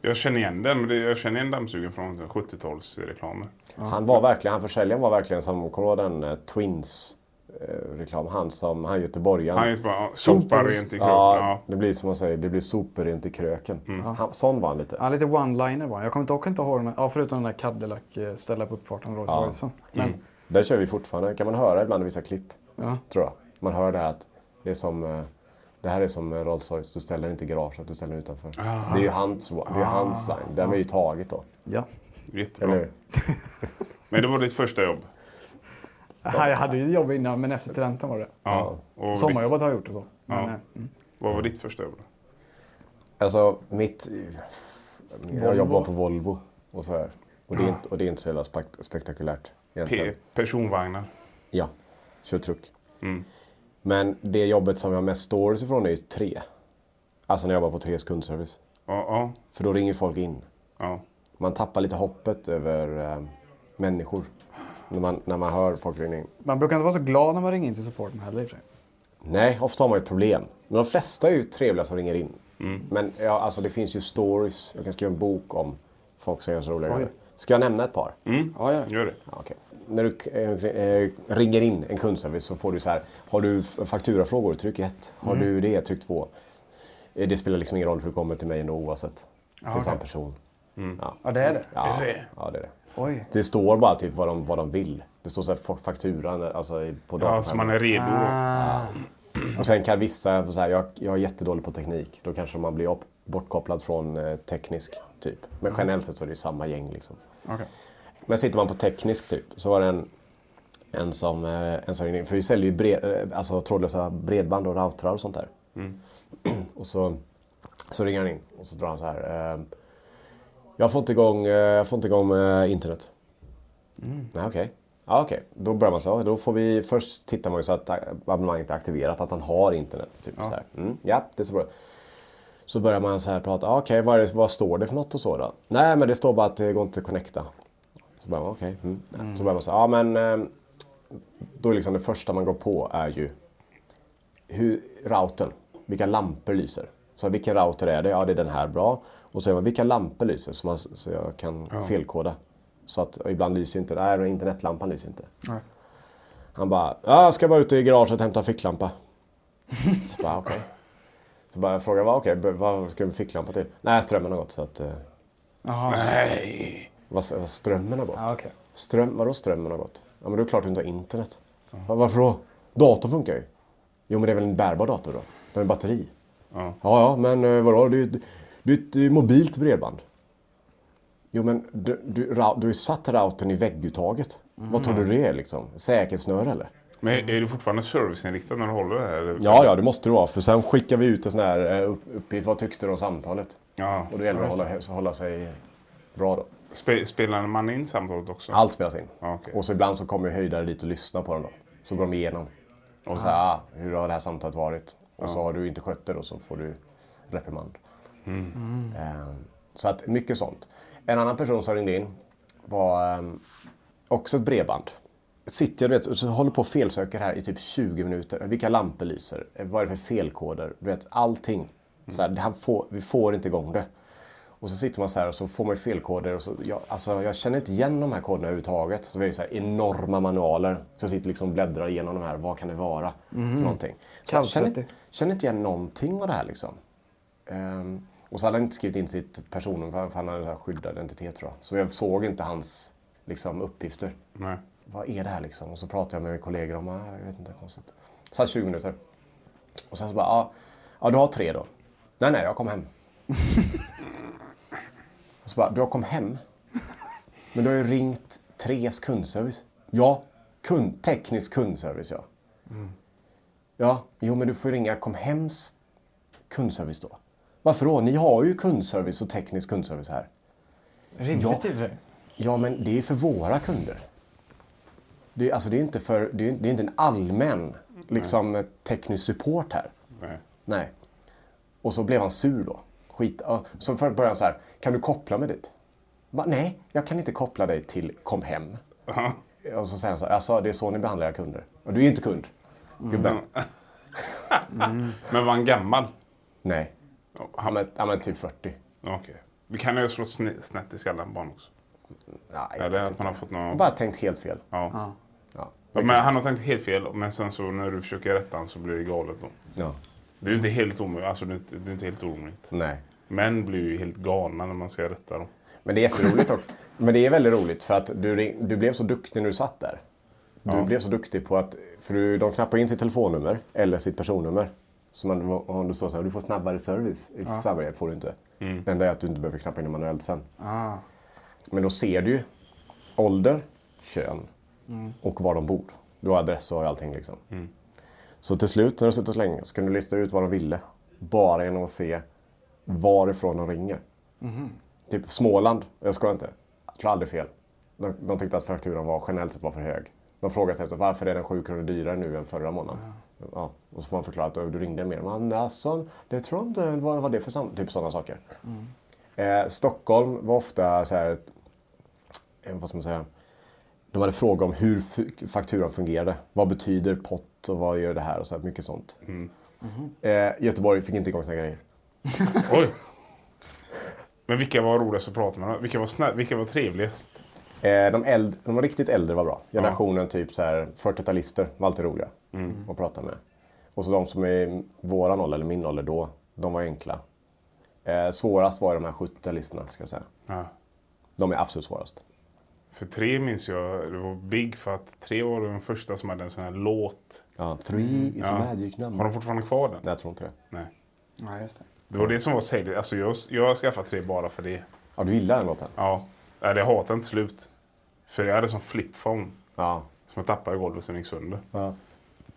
[SPEAKER 1] Jag känner igen den, men det- jag känner igen dammsugaren från 70-talsreklamer.
[SPEAKER 3] Han var verkligen, han försäljaren var verkligen som, kommer du ihåg den eh, Twins eh, reklam? Han som, han göteborgaren.
[SPEAKER 1] Han är ju bara sopar rent i krogen.
[SPEAKER 3] Ja,
[SPEAKER 1] Ja. Mm.
[SPEAKER 3] det blir som man säger, det blir soprent i kröken. Han, sån var han lite.
[SPEAKER 2] Ja, lite one-liner var han. Jag kommer dock inte ihåg den här, ja, förutom den där Cadillac eh, ställa på uppfarten Rolls Royce. Men
[SPEAKER 3] Mm. Där kör vi fortfarande, kan man höra ibland i vissa klipp.
[SPEAKER 2] Ja.
[SPEAKER 3] Tror jag. Man hör det här att det är som eh, det här är som eh, Rolls Royce, du ställer inte i garaget, du ställer den utanför.
[SPEAKER 1] Ah.
[SPEAKER 3] Det är ju hans, det är ju hans line. Den är ju taget då.
[SPEAKER 2] ja.
[SPEAKER 1] Jättebra.
[SPEAKER 3] Eller hur?
[SPEAKER 1] Men det var ditt första jobb.
[SPEAKER 2] Ja, jag hade ju jobb innan, men efter studenten var det.
[SPEAKER 1] Ja. Och ditt,
[SPEAKER 2] Sommarjobbet har jag gjort och så. Men, eh, mm.
[SPEAKER 1] vad var ditt första jobb då?
[SPEAKER 3] Alltså mitt... Jag jobbar på Volvo och så här. Och det är inte, och det är inte så jävla spek- spektakulärt. egentligen.
[SPEAKER 1] P- personvagnar.
[SPEAKER 3] Ja, kör truck. Men det jobbet som jag har mest stories ifrån är ju tre. Alltså när jag jobbar på Tres kundservice.
[SPEAKER 1] Ja, ja,
[SPEAKER 3] För då ringer folk in.
[SPEAKER 1] ja.
[SPEAKER 3] Man tappar lite hoppet över eh, människor. När man, när man hör folk ringa in.
[SPEAKER 2] Man brukar inte vara så glad när man ringer in till supporten heller i och för sig.
[SPEAKER 3] Nej, ofta har man ju problem. Men de flesta är ju trevliga som ringer in.
[SPEAKER 2] Mm.
[SPEAKER 3] Men ja, alltså, det finns ju stories. Jag kan skriva en bok om folk som gör så roliga grejer. Ska jag nämna ett par?
[SPEAKER 2] Ja, ja.
[SPEAKER 1] Gör det.
[SPEAKER 3] Ja, okej. När du eh, eh, ringer in en kundservice så får du så här, har du f- fakturafrågor, tryck 1. Har
[SPEAKER 2] Mm.
[SPEAKER 3] du det, tryck 2. Det spelar liksom ingen roll för du kommer till mig ändå oavsett. det är samma person. Ja.
[SPEAKER 2] Mm. ja, det är det.
[SPEAKER 3] Ja, ja, det är det.
[SPEAKER 2] Oj.
[SPEAKER 3] Det står bara typ vad de, vad de vill. Det står så här fa- fakturan alltså, i- på
[SPEAKER 1] Ja, så man är redo då.
[SPEAKER 2] Ah,
[SPEAKER 3] Och sen kan vissa, så här, jag, jag är jättedålig på teknik. Då kanske man blir op- bortkopplad från eh, teknisk typ. Men generellt sett så är det ju samma gäng liksom.
[SPEAKER 1] Okej.
[SPEAKER 3] Men sitter man på teknisk typ så var det en, en som, eh, en som ringde in. För vi säljer ju bre, eh, alltså, trådlösa bredband och routrar och sånt där. Och så, så ringer han in och så drar han så här. Eh, Jag får inte igång, eh, jag får inte igång eh, internet. Nej, okej. Ja, okej. Då börjar man så. här, Då får vi först tittar man ju så att eh, abonnemanget är aktiverat, att han har internet. Typ, så här. Mm, ja, det är så bra. Så börjar man så här prata. Ah, okej, vad, är det- vad står det för något och så då? Nej, men det står bara att det går inte att connecta. Så börjar man, okej. mm. Så börjar man så här, ja men. eh, Då är liksom det första man går på är ju hur, routern. Vilka lampor lyser. Så vilken router är det? Ja, det är den här bra. Och så är man, vilka lampor lyser? Så, man, så jag kan felkoda. Så att och ibland lyser inte, nej, internetlampan lyser inte. Han bara, ja, jag ska bara ut i garaget och hämta en ficklampa. Så bara, okej. Så bara jag frågade, vad, okej, be- vad ska vi ficklampa till? Nej, strömmen har gått. Så att, eh,
[SPEAKER 1] Nej!
[SPEAKER 3] vad, vad strömmen har gått?
[SPEAKER 2] Ja, okej.
[SPEAKER 3] Ström, vadå strömmen har gått? Ja, men då är det klart du inte har internet. Va- Varför då? Datorn funkar ju. Jo, men det är väl en bärbar dator då? Den har ju batteri. Ja, ja, men eh, vadå? Det är ju ett- det är ett eh, mobilt bredband. Jo, men du, du, ra- du har ju satt routern i vägguttaget. Vad tror du det är liksom? Säkerhetsnöre eller?
[SPEAKER 1] Men är du fortfarande serviceinriktad när du håller det här? Eller?
[SPEAKER 3] Ja, ja, det måste det vara. För sen skickar vi ut en sån här eh, upp- uppgift. Vad tyckte du om samtalet?
[SPEAKER 1] Ja.
[SPEAKER 3] Och då gäller det att hålla, hålla sig bra då.
[SPEAKER 1] Spe, spelar man in samtalet också?
[SPEAKER 3] Allt spelas in.
[SPEAKER 1] Ja, okej.
[SPEAKER 3] Och så ibland så kommer ju höjdare dit och lyssnar på dem då. Så går de igenom. Och så här, ah, hur har det här samtalet varit? Och
[SPEAKER 1] Ah.
[SPEAKER 3] så har du inte skött det då så får du reprimand.
[SPEAKER 1] Mm.
[SPEAKER 3] Ehm, så att mycket sånt. En annan person som ringde in var ehm, också ett bredband. Sitter jag du vet, och så håller på och felsöker här i typ 20 minuter. Vilka lampor lyser? Eh, Vad är det för felkoder? Du vet, allting. Så här, det här får, vi får inte igång det. Och så sitter man så här och så får man ju felkoder. Och så, jag, alltså, jag känner inte igen de här koderna överhuvudtaget. Så det är så här enorma manualer. Så jag sitter liksom och bläddrar igenom de här. Vad kan det vara för någonting? Så jag känner, inte-
[SPEAKER 2] Kallsvettig.
[SPEAKER 3] känner inte igen någonting av det här liksom. Ehm, och så hade han inte skrivit in sitt personnummer för han hade så här skyddad identitet tror jag. Så jag såg inte hans liksom, uppgifter.
[SPEAKER 1] Nej.
[SPEAKER 3] Vad är det här liksom? Och så pratade jag med mina kollegor om, ah, jag vet inte, konstigt. Satt 20 minuter. Och sen så bara, ah, ja du har tre då. Nej, nej, jag kom hem. och så bara, du har kom hem? Men du har ju ringt Tres kundservice. Ja, kund, teknisk kundservice ja. Ja, jo men du får ju ringa kom hems kundservice då. Varför då? Ni har ju kundservice och teknisk kundservice här.
[SPEAKER 2] Ringde
[SPEAKER 3] Ja.
[SPEAKER 2] till dig?
[SPEAKER 3] Ja, men det är för våra kunder. Det är, alltså, det är, inte, för, det är, det är inte en allmän liksom, eh, teknisk support här.
[SPEAKER 1] Nej.
[SPEAKER 3] Nej. Och så blev han sur då. Skit. ja. Så först började han så här, kan du koppla mig dit? Va, nej, jag kan inte koppla dig till kom hem.
[SPEAKER 1] Ja.
[SPEAKER 3] Och så säger han så här, alltså, det är så ni behandlar era kunder. Och du är ju inte kund,
[SPEAKER 1] Mm.
[SPEAKER 3] gubben.
[SPEAKER 1] Men var han gammal?
[SPEAKER 3] Nej,
[SPEAKER 1] Ja,
[SPEAKER 3] han
[SPEAKER 1] Han,
[SPEAKER 3] är, han är typ 40.
[SPEAKER 1] Okej. Vi kan ju slå sne- snett i skallen på honom också.
[SPEAKER 3] Nej, jag
[SPEAKER 1] Eller
[SPEAKER 3] vet
[SPEAKER 1] att
[SPEAKER 3] inte.
[SPEAKER 1] han har fått någon...
[SPEAKER 3] Jag har bara tänkt helt fel.
[SPEAKER 1] Ja.
[SPEAKER 3] Ja.
[SPEAKER 1] Ja, Men han har tänkt helt fel, men sen så när du försöker rätta han så blir det galet då.
[SPEAKER 3] Ja.
[SPEAKER 1] Det är ju inte helt omöjligt. Alltså, det är inte, det är inte helt omöjligt.
[SPEAKER 3] Nej.
[SPEAKER 1] Män blir ju helt galna när man ska rätta dem.
[SPEAKER 3] Men det är jätteroligt också. Men det är väldigt roligt för att du, ring- du blev så duktig när du satt där. Du blev så duktig på att, för du, de knappar in sitt telefonnummer eller sitt personnummer. Så man, om det står så här, du får snabbare service. Snabbare får du inte. Det enda är att du inte behöver knappa in det manuellt sen. Men då ser du ju ålder, kön och var de bor. Du har adress och allting liksom. Så till slut när du suttit så länge så kunde du lista ut vad de ville. Bara genom att se varifrån de ringer. Typ Småland, jag skojar inte. Jag tror aldrig fel. De, de tyckte att fakturan var, generellt sett var för hög. De frågade sig efter varför är den 7 kronor dyrare nu än förra månaden. Ja. och så får man förklara att "Ö, du ringde mer. Men alltså, det tror jag inte. Vad var det för sam-? Typ sådana saker. Eh, Stockholm var ofta så här, eh, vad ska man säga? De hade frågor om hur fu- fakturan fungerade. Vad betyder pott och vad gör det här och så här, mycket sånt. Eh, Göteborg fick inte igång sina grejer.
[SPEAKER 1] Oj! Men vilka var roligast att prata med? då? Vilka var, snä- vilka var trevligast?
[SPEAKER 3] Eh, de, äldre, de riktigt äldre var bra. Generationen typ så här 40-talister var alltid roliga att prata med. Och så de som är våran ålder, eller min ålder då, de var enkla. Eh, svårast var de här 70-talisterna, ska jag säga.
[SPEAKER 1] Ja.
[SPEAKER 3] De är absolut svårast.
[SPEAKER 1] För tre minns jag, det var big för att tre var den första som hade en sån här låt.
[SPEAKER 3] Ja, three is
[SPEAKER 1] Ja.
[SPEAKER 3] a magic
[SPEAKER 1] Har
[SPEAKER 3] number.
[SPEAKER 1] de fortfarande kvar den?
[SPEAKER 3] Nej, jag tror inte det.
[SPEAKER 1] Nej.
[SPEAKER 2] Ja, just det.
[SPEAKER 1] Det var det som var säljigt. Alltså jag, jag har skaffat tre bara för det.
[SPEAKER 3] Ja, du gillar den låten?
[SPEAKER 1] Ja. Nej, Det hatade inte slut. För jag hade som flipphone
[SPEAKER 3] Ja.
[SPEAKER 1] som jag tappade i golvet sen gick sönder.
[SPEAKER 3] Ja.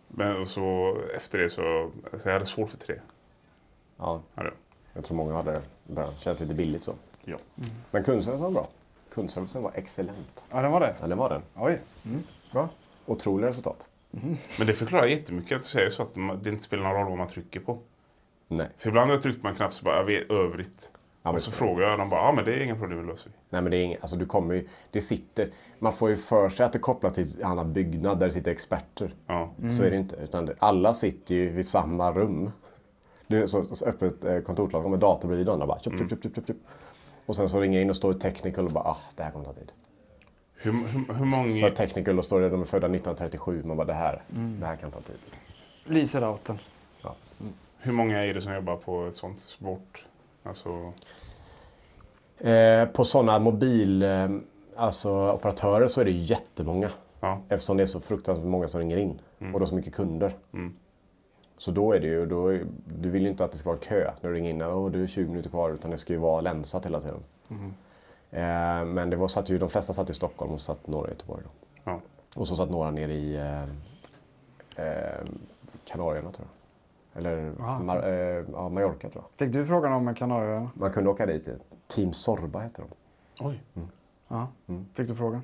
[SPEAKER 1] Men och så efter det så, så jag hade svårt för tre.
[SPEAKER 3] ja.
[SPEAKER 1] Ja, det-
[SPEAKER 3] Jag tror många hade det. bra. Känns lite billigt så.
[SPEAKER 1] Ja.
[SPEAKER 3] Men kundservicen var bra. Kundservicen var excellent.
[SPEAKER 2] Ja, den var det.
[SPEAKER 3] Ja, det var den.
[SPEAKER 2] Oj. Mm. Bra.
[SPEAKER 3] Otroliga resultat.
[SPEAKER 1] Men det förklarar jättemycket att du säger så att man- det inte spelar någon roll vad man trycker på.
[SPEAKER 3] Nej.
[SPEAKER 1] För ibland har jag tryckt på en knapp så bara, jag vet övrigt.
[SPEAKER 3] Ja, men-
[SPEAKER 1] och så frågar jag dem bara, ja men det är inga problem, det löser vi.
[SPEAKER 3] Nej men det är inget, alltså du kommer ju, det sitter, man får ju för sig att det kopplas till en annan byggnad där det sitter experter.
[SPEAKER 1] Ja.
[SPEAKER 3] Så är det inte, utan det, alla sitter ju vid samma rum. Det är så, så öppet eh, kontorslag med dator bredvid varandra bara tjup, tjup, tjup, tjup, tjup, tjup. Och sen så ringer in och står i technical och bara ah, det här kommer ta tid.
[SPEAKER 1] Hur, hur, hur
[SPEAKER 3] Så
[SPEAKER 1] många... Mm.
[SPEAKER 3] technical och står det, de är födda 1937, man bara det här, det här kan ta tid.
[SPEAKER 2] Lyser routern.
[SPEAKER 3] Ja.
[SPEAKER 1] Hur många är det som jobbar på ett sånt sport? Alltså,
[SPEAKER 3] Eh, på sådana mobil, eh, alltså operatörer så är det ju jättemånga.
[SPEAKER 1] ja.
[SPEAKER 3] Eftersom det är så fruktansvärt många som ringer in och då så mycket kunder. Så då är det ju, då är, du vill ju inte att det ska vara kö när du ringer in. Åh, du är 20 minuter kvar. Utan det ska ju vara länsat hela tiden. Eh, men det var, satt ju, de flesta satt i Stockholm och så satt några i Göteborg. Då.
[SPEAKER 1] ja.
[SPEAKER 3] Och så satt några nere i eh, eh, Kanarierna tror jag. Eller
[SPEAKER 2] Ah,
[SPEAKER 3] Mar- eh, ja, Mallorca tror jag.
[SPEAKER 2] Fick du frågan om Kanarieöarna?
[SPEAKER 3] Man kunde åka dit. eh, Team Sorba heter de.
[SPEAKER 1] Oj.
[SPEAKER 2] Ja. Fick du frågan?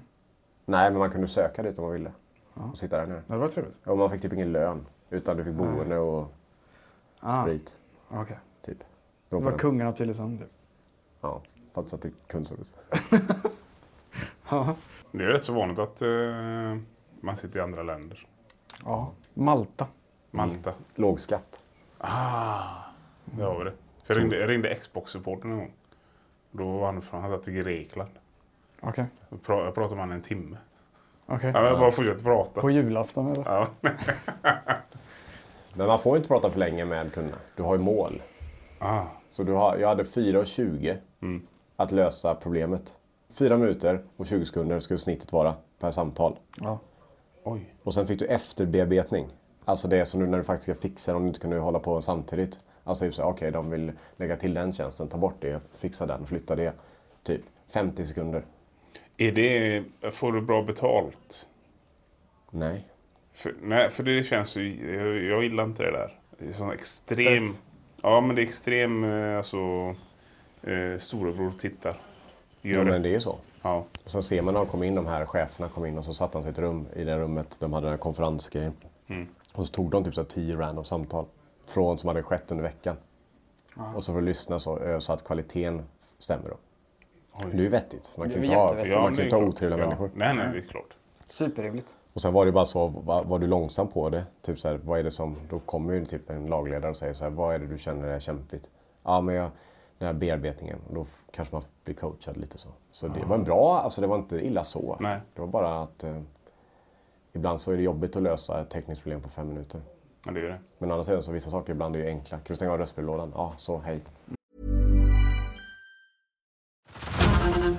[SPEAKER 3] Nej, men man kunde söka dit om man ville. Och sitta där nere.
[SPEAKER 2] Det var trevligt.
[SPEAKER 3] Och man fick typ ingen lön. Utan du fick boende och
[SPEAKER 2] Ah,
[SPEAKER 3] sprit.
[SPEAKER 2] Okej.
[SPEAKER 3] Typ.
[SPEAKER 2] Det var kungen av Tylösand. Typ.
[SPEAKER 3] Ja, fast att det är kundservice.
[SPEAKER 2] Ja.
[SPEAKER 1] Det är rätt så vanligt att eh, man sitter i andra länder.
[SPEAKER 2] ja. Malta.
[SPEAKER 1] Malta.
[SPEAKER 3] Låg skatt.
[SPEAKER 1] Där har vi det. För jag ringde, jag ringde Xbox-supporten en gång. Då var han från, han satt i Grekland.
[SPEAKER 2] Okej.
[SPEAKER 1] Jag pra- jag pratade med honom en timme.
[SPEAKER 2] Okej.
[SPEAKER 1] Ja, men jag bara fortsatte prata.
[SPEAKER 2] På julafton eller?
[SPEAKER 1] Ja.
[SPEAKER 3] Men man får inte prata för länge med kunderna. Du har ju mål.
[SPEAKER 1] Ah.
[SPEAKER 3] Så du har, jag hade 4.20
[SPEAKER 2] Mm.
[SPEAKER 3] att lösa problemet. 4 minuter och 20 sekunder skulle snittet vara per samtal.
[SPEAKER 2] Ja.
[SPEAKER 1] Oj.
[SPEAKER 3] Och sen fick du efterbearbetning. Alltså det som du när du faktiskt ska fixa om du inte kunde hålla på samtidigt. Alltså typ så här, okej de vill lägga till den tjänsten, ta bort det, fixa den, flytta det. Typ 50 sekunder.
[SPEAKER 1] Är det, får du bra betalt?
[SPEAKER 3] Nej.
[SPEAKER 1] För, nej, för det känns ju, jag, jag gillar inte det där. Det är sån extrem...
[SPEAKER 2] Stress.
[SPEAKER 1] Ja, men det är extrem, eh, alltså... Eh, storebror tittar. Gör
[SPEAKER 3] Jo,
[SPEAKER 1] det.
[SPEAKER 3] men det är ju så.
[SPEAKER 1] Ja.
[SPEAKER 3] Och sen ser man när de kom in, de här cheferna kom in och så satt de sig i ett rum i det rummet de hade den här konferensgrejen.
[SPEAKER 1] Mm.
[SPEAKER 3] Och så tog de typ så här tio random samtal från som hade skett under veckan. Och så för att lyssna så, ö, så att kvaliteten stämmer då. Det är ju vettigt, för man kan ju
[SPEAKER 2] Det
[SPEAKER 3] inte
[SPEAKER 2] är
[SPEAKER 3] ha,
[SPEAKER 2] jättevettigt.
[SPEAKER 3] för man
[SPEAKER 1] men
[SPEAKER 3] kan ju
[SPEAKER 1] det
[SPEAKER 3] inte
[SPEAKER 1] är
[SPEAKER 3] ha
[SPEAKER 1] klart.
[SPEAKER 3] otrevliga människor. Mm.
[SPEAKER 1] Nej, nej, det är klart.
[SPEAKER 2] Superrimligt.
[SPEAKER 3] Och sen var det ju bara så, var, var du långsam på det, typ så här, vad är det som, då kommer ju typ en lagledare och säger så här, vad är det du känner är kämpigt? Ja, men jag, den här bearbetningen, och då f- kanske man blir coachad lite så. Så det var en bra, alltså det var inte illa så.
[SPEAKER 1] Nej.
[SPEAKER 3] Det var bara att eh, ibland så är det jobbigt att lösa ett tekniskt problem på fem minuter.
[SPEAKER 1] Ja, det är det.
[SPEAKER 3] Men å andra sidan så vissa saker ibland är ju enkla. Kan du stänga av röstbrevlådan? Ja, så hej.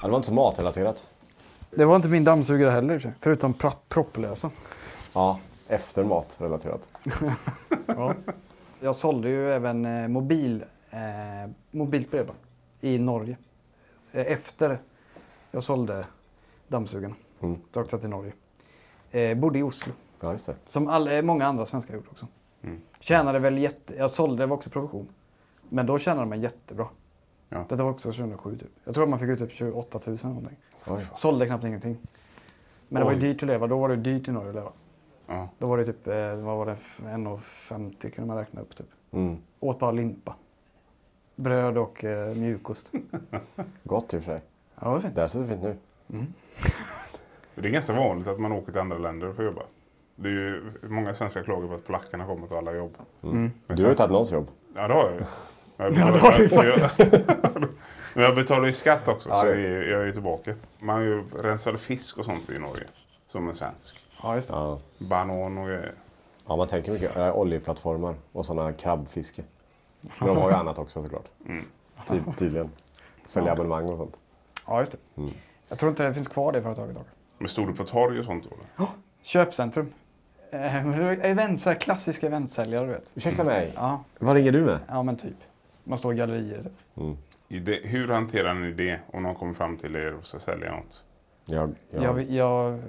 [SPEAKER 3] Ja, det var inte så matrelaterat.
[SPEAKER 2] Det var inte min dammsugare heller i och för sig, Förutom pra- propplösa.
[SPEAKER 3] Ja, efter matrelaterat.
[SPEAKER 2] Jag sålde ju även eh, mobil, eh, mobilt bredband i Norge. Eh, Efter jag sålde dammsugaren. Mm. Då åkte jag till Norge. Eh, bodde i Oslo.
[SPEAKER 3] Ja, just det.
[SPEAKER 2] Som all, eh, många andra svenskar gjort också. Tjänade väl jätte... Jag sålde, det var också provision. Men då tjänade man jättebra.
[SPEAKER 1] Ja.
[SPEAKER 2] Detta var också 2007 typ. Jag tror att man fick ut typ 28 000 eller någonting.
[SPEAKER 3] Oj.
[SPEAKER 2] Sålde knappt ingenting. Men det var ju dyrt att leva. Då var det dyrt i Norge att leva.
[SPEAKER 1] Ja.
[SPEAKER 2] Då var det typ, eh, vad var det, 1,50 kunde man räkna upp typ. Åt bara limpa. Bröd och eh, mjukost.
[SPEAKER 3] Gott i och för sig.
[SPEAKER 2] Ja, det var fint.
[SPEAKER 3] Där ser det fint nu.
[SPEAKER 1] Det är ganska vanligt att man åker till andra länder för att jobba. Det är ju många svenskar klagar på att polackerna kommer till alla jobb. Men
[SPEAKER 3] Du har ju
[SPEAKER 1] sen-
[SPEAKER 3] tagit någons jobb.
[SPEAKER 1] Ja, det har jag ju. Jag betalar, ja, det har du faktiskt. Men jag betalar ju skatt också, så jag är, jag är ju tillbaka. Man har ju rensade fisk och sånt i Norge, som en svensk.
[SPEAKER 2] Ja, just det.
[SPEAKER 3] Ja.
[SPEAKER 1] Banan och grejer.
[SPEAKER 3] ja, man tänker mycket. Äh, oljeplattformar och sådana krabbfiske. Men de har ju annat också såklart.
[SPEAKER 2] Mm.
[SPEAKER 3] Ty tydligen. Sälja abonnemang och sånt.
[SPEAKER 2] Ja, just det. Jag tror inte det finns kvar det företaget idag.
[SPEAKER 1] Men stod du på torg och sånt då? eller?
[SPEAKER 2] Köpcentrum. Eh, men det var event, så här klassiska eventsäljare, du vet.
[SPEAKER 3] Ursäkta mig.
[SPEAKER 2] Ja,
[SPEAKER 3] Vad ringer du med?
[SPEAKER 2] ja men typ. Man står i gallerier. Typ.
[SPEAKER 1] I det, hur hanterar ni det om någon kommer fram till er och ska sälja något?
[SPEAKER 3] Jag, jag,
[SPEAKER 2] Jag, vi- jag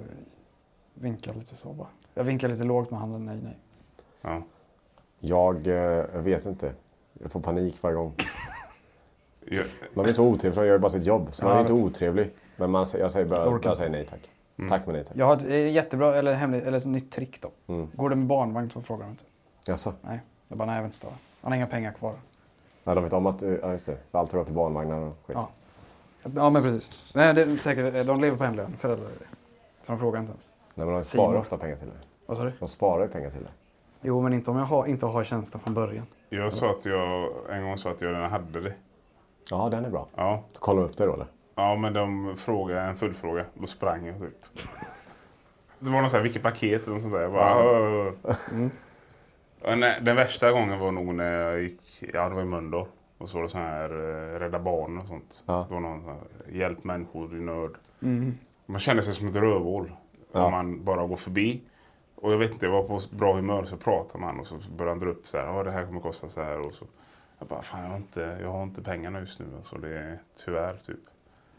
[SPEAKER 2] vinkar lite så bara. Jag vinkar lite lågt med handen, nej, nej.
[SPEAKER 1] Ja.
[SPEAKER 3] jag, eh, jag vet inte. Jag får panik varje gång.
[SPEAKER 1] Jag,
[SPEAKER 3] Man vill inte vara otrevlig, för jag gör ju bara sitt jobb. Så man
[SPEAKER 2] Ja,
[SPEAKER 3] är
[SPEAKER 2] jag
[SPEAKER 3] inte
[SPEAKER 2] vet.
[SPEAKER 3] otrevlig. Men man, säger- jag säger bara
[SPEAKER 2] orkar Mm.
[SPEAKER 3] jag säger nej tack. Tack men nej tack.
[SPEAKER 2] Jag har ett eh, jättebra, eller hemligt, eller ett nytt trick då. Går du med barnvagn så frågar de inte.
[SPEAKER 3] Jaså?
[SPEAKER 2] Nej, jag bara, nej jag vill inte störa. Han har inga pengar kvar.
[SPEAKER 3] Ja, de vet om att du... Ja, just det. Allt går till barnvagnar och skit.
[SPEAKER 2] Ja. Ja, men precis. Nej, det är säkert, eh, de lever på en lön, föräldrar. Så de frågar inte ens.
[SPEAKER 3] Nej, men de
[SPEAKER 2] Simon.
[SPEAKER 3] sparar ofta pengar till det.
[SPEAKER 2] Vad sa du?
[SPEAKER 3] De sparar ju pengar till det.
[SPEAKER 2] Jo, men inte om jag har, inte har tjänsten från början.
[SPEAKER 1] jag sa att jag en gång sa att jag redan hade det.
[SPEAKER 3] Ja, den är bra.
[SPEAKER 1] Ja,
[SPEAKER 3] Så kollar de upp det då eller?
[SPEAKER 1] Ja, men de frågade en fullfråga. Då sprang jag typ. Det var någon sån här, vilket paket och sånt där. Jag bara, mm. nej, den värsta gången var nog när jag gick, ja det var i Mölndal. Och så var det sån här eh, Rädda Barnen och sånt.
[SPEAKER 3] Ja. Mm.
[SPEAKER 1] Det var någon sån här, hjälp människor i nöd. Man känner sig som ett rövhål.
[SPEAKER 3] Ja.
[SPEAKER 1] Om man bara går förbi. Och jag vet inte, jag var på bra humör så pratade man och så började han dra upp så här, ja det här kommer kosta så här. Och så, jag bara, fan jag har inte, jag har inte pengarna just nu. Alltså, det är tyvärr typ.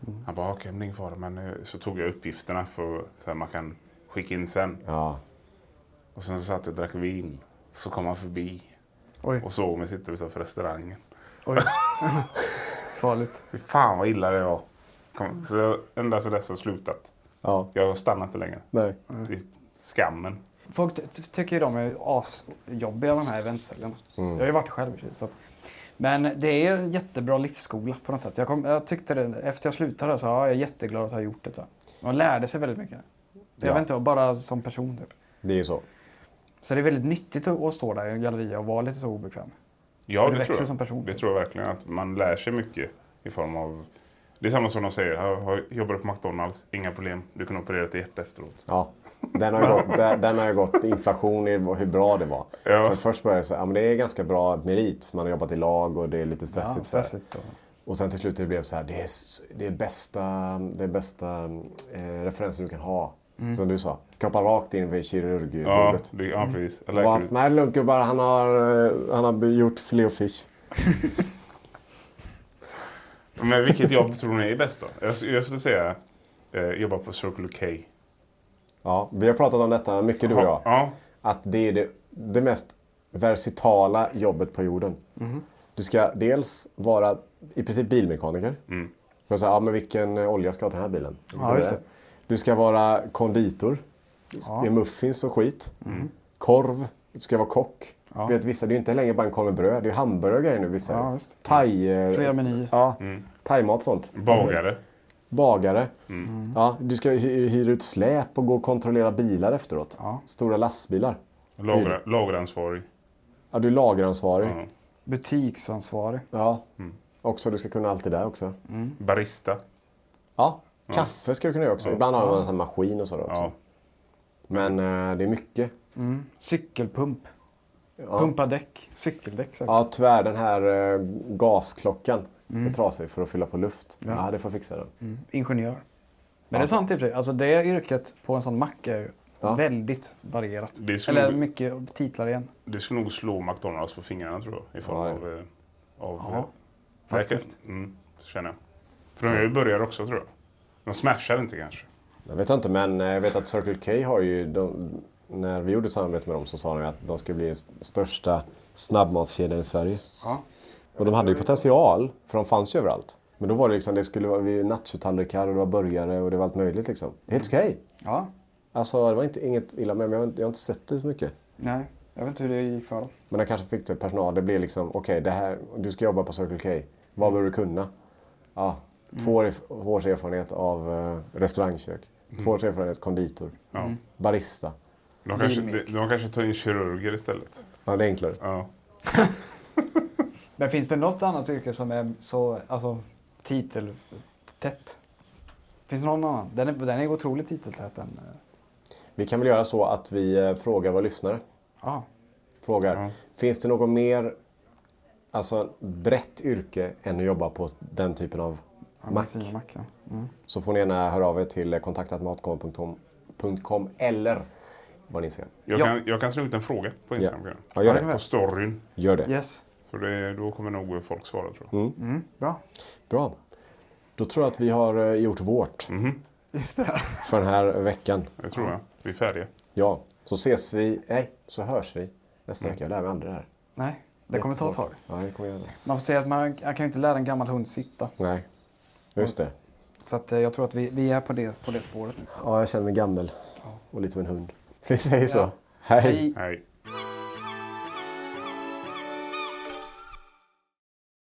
[SPEAKER 3] Mm.
[SPEAKER 1] Han bara, okej men det är ingen fara. Men eh, så tog jag uppgifterna för så här, man kan skicka in sen.
[SPEAKER 3] Ja.
[SPEAKER 1] Och sen så satt jag och drack vin. Så kom han förbi
[SPEAKER 2] Oj,
[SPEAKER 1] och såg mig sitta utanför restaurangen.
[SPEAKER 2] oj. Farligt.
[SPEAKER 1] Fy fan vad illa det var.
[SPEAKER 2] Mm.
[SPEAKER 1] Kom, så jag, ända sedan dess har jag slutat.
[SPEAKER 3] Ja.
[SPEAKER 1] Jag stannar inte längre.
[SPEAKER 3] Nej.
[SPEAKER 1] Det är skammen.
[SPEAKER 2] Folk ty- ty- tycker ju de är asjobbiga de här eventsäljarna.
[SPEAKER 1] Mm.
[SPEAKER 2] Jag har ju varit själv. Så att. Men det är en jättebra livsskola på något sätt. Jag, kom, jag tyckte det, efter jag slutade så ja, jag är jätteglad att ha gjort detta. Man lärde sig väldigt mycket. Jag
[SPEAKER 3] Ja.
[SPEAKER 2] vet inte, bara som person typ.
[SPEAKER 3] Det är ju så.
[SPEAKER 2] Så det är väldigt nyttigt att, att stå där i en galleria och vara lite så obekväm.
[SPEAKER 1] Ja,
[SPEAKER 2] För du växer
[SPEAKER 1] tror jag.
[SPEAKER 2] som person.
[SPEAKER 1] Det tror jag verkligen. Att man lär sig mycket i form av... Det är samma som de säger. "Jag har- Jobbar du på McDonalds? Inga problem. Du kan operera ett hjärta efteråt.
[SPEAKER 3] Ja. Den har, ju gått, den, den har ju gått inflation i hur bra det var.
[SPEAKER 1] Ja.
[SPEAKER 3] För först började jag säga, ja men det är ganska bra merit. För man har jobbat i lag och det är lite stressigt. så här.
[SPEAKER 2] stressigt och-
[SPEAKER 3] Och sen till slut det blev så här, det är, s- det är bästa, det är bästa eh, referensen du kan ha. Som du sa, kroppar rakt in vid
[SPEAKER 1] Ja,
[SPEAKER 3] kirurgbordet.
[SPEAKER 1] det, ja
[SPEAKER 2] Mm.
[SPEAKER 1] precis. Jag
[SPEAKER 3] Ja,
[SPEAKER 1] läker ut.
[SPEAKER 3] Nej, det är lugnt gubbar. Han har, eh, han har gjort filé och fish.
[SPEAKER 1] Men vilket jobb tror ni är bäst då? Jag, jag skulle säga eh, jobba på Circle K.
[SPEAKER 3] Ja, vi har pratat om detta mycket du och jag.
[SPEAKER 1] Ja,
[SPEAKER 3] Att det är det, det mest versatila jobbet på jorden.
[SPEAKER 2] Mhm.
[SPEAKER 3] Du ska dels vara i princip bilmekaniker. För att säga, ja, men vilken eh, olja ska jag ha till den här bilen?
[SPEAKER 2] Mm. Ja, just det.
[SPEAKER 3] Du ska vara konditor. Det är muffins och skit.
[SPEAKER 2] Mm.
[SPEAKER 3] Korv. Du ska vara kock. Du vet, vissa, det är ju inte längre bara en korv med bröd. Det är ju hamburgare nu. Vissa.
[SPEAKER 2] Ja, visst.
[SPEAKER 3] Thai, eh,
[SPEAKER 2] Flera Mm. menyer.
[SPEAKER 3] Ja, thaimat och sånt.
[SPEAKER 2] Mm.
[SPEAKER 1] bagare.
[SPEAKER 3] Bagare.
[SPEAKER 1] Mm.
[SPEAKER 3] Ja, du ska hy- hyra ut släp och gå och kontrollera bilar efteråt. Stora lastbilar.
[SPEAKER 1] Lagra, lageransvarig.
[SPEAKER 3] Ja, du är lageransvarig.
[SPEAKER 1] Ja. Mm.
[SPEAKER 2] Butiksansvarig.
[SPEAKER 3] Ja. Också, du ska kunna allt det där också.
[SPEAKER 1] Barista.
[SPEAKER 3] Ja, kaffe ska du kunna göra också. Ibland har man en sån här maskin och så då också.
[SPEAKER 1] Ja.
[SPEAKER 3] Men eh, det är mycket.
[SPEAKER 2] Cykelpump. Pumpa däck. Cykeldäck säkert.
[SPEAKER 3] Ja, tyvärr den här eh, gasklockan är trasig för att fylla på luft. Mm. Ja, det får fixa den.
[SPEAKER 2] Ingenjör. Men det är sant i och för sig. Alltså det yrket på en sån mack är ju
[SPEAKER 3] Ja.
[SPEAKER 2] väldigt varierat.
[SPEAKER 1] Det skulle-
[SPEAKER 2] Eller mycket titlar igen.
[SPEAKER 1] Det skulle nog slå McDonalds på fingrarna tror jag. I form
[SPEAKER 3] Ja,
[SPEAKER 1] av... eh, av
[SPEAKER 2] Ja,
[SPEAKER 1] eh,
[SPEAKER 2] faktiskt.
[SPEAKER 1] Mm, känner jag. För de gör ju burgare också tror jag. De smashar inte kanske.
[SPEAKER 3] Jag vet inte, men eh, jag vet att Circle K har ju... De, när vi gjorde ett samarbete med dem så sa de ju att de skulle bli den st- största snabbmatskedjan i Sverige.
[SPEAKER 2] Ja.
[SPEAKER 3] Och de hade ju potential, för de fanns ju överallt. Men då
[SPEAKER 2] Mm.
[SPEAKER 3] var det liksom, det skulle vara vid nachotallrikar och det var burgare och det var allt möjligt liksom. Det är Helt okej.
[SPEAKER 2] Ja.
[SPEAKER 3] Alltså det var inte, inget illa med men jag har inte- jag har inte sett det så mycket.
[SPEAKER 2] Nej, jag vet inte hur det gick för dem.
[SPEAKER 3] Men han kanske fick till personal. Det blir liksom, okej, det här, du ska jobba på Circle K. Vad behöver du kunna? Ja, två år, erf- års erfarenhet av eh, restaurangkök. Två års erfarenhet konditor. Barista.
[SPEAKER 1] De kanske, de, de kanske tar in kirurger istället.
[SPEAKER 3] Ja, det är enklare.
[SPEAKER 1] Ja.
[SPEAKER 2] Men finns det något annat yrke som är så alltså, titeltätt? Finns det någon annan? Den är, den är otroligt titeltät den. eh.
[SPEAKER 3] Vi kan väl göra så att vi eh, frågar våra lyssnare.
[SPEAKER 2] Ja.
[SPEAKER 3] Frågar, finns det något mer alltså, brett yrke än att jobba på den typen av mack?
[SPEAKER 2] Mack. Mack ja.
[SPEAKER 3] Så får ni gärna höra av er till kontaktatmatkomma.com eller vad ni ser.
[SPEAKER 1] Jag,
[SPEAKER 4] Ja.
[SPEAKER 1] Kan, jag kan slå ut en fråga på Instagram. kan jag?
[SPEAKER 3] Ja, gör
[SPEAKER 1] På
[SPEAKER 3] det.
[SPEAKER 1] storyn.
[SPEAKER 3] Gör det.
[SPEAKER 2] Yes,
[SPEAKER 1] För det, då kommer nog folk svara tror jag.
[SPEAKER 3] Mm.
[SPEAKER 2] bra.
[SPEAKER 3] Bra. Då tror jag att vi har eh, gjort vårt
[SPEAKER 2] Mhm. Just det.
[SPEAKER 3] för den här veckan.
[SPEAKER 1] Det tror jag. Vi är färdiga.
[SPEAKER 3] Ja, så ses vi, nej, så hörs vi nästa vecka. Jag lär mig aldrig det här.
[SPEAKER 2] Nej, Mm. det kommer ta ett tag.
[SPEAKER 3] Jättesvårt. Ja, det kommer göra det.
[SPEAKER 2] Man får säga att man, man kan ju inte lära en gammal hund sitta.
[SPEAKER 3] Nej, just det.
[SPEAKER 2] Så att, eh, jag tror att vi, vi är på det, på det spåret nu.
[SPEAKER 3] Ja, jag känner mig gammal och lite som en hund. Vi säger så. Hej!
[SPEAKER 1] Hej.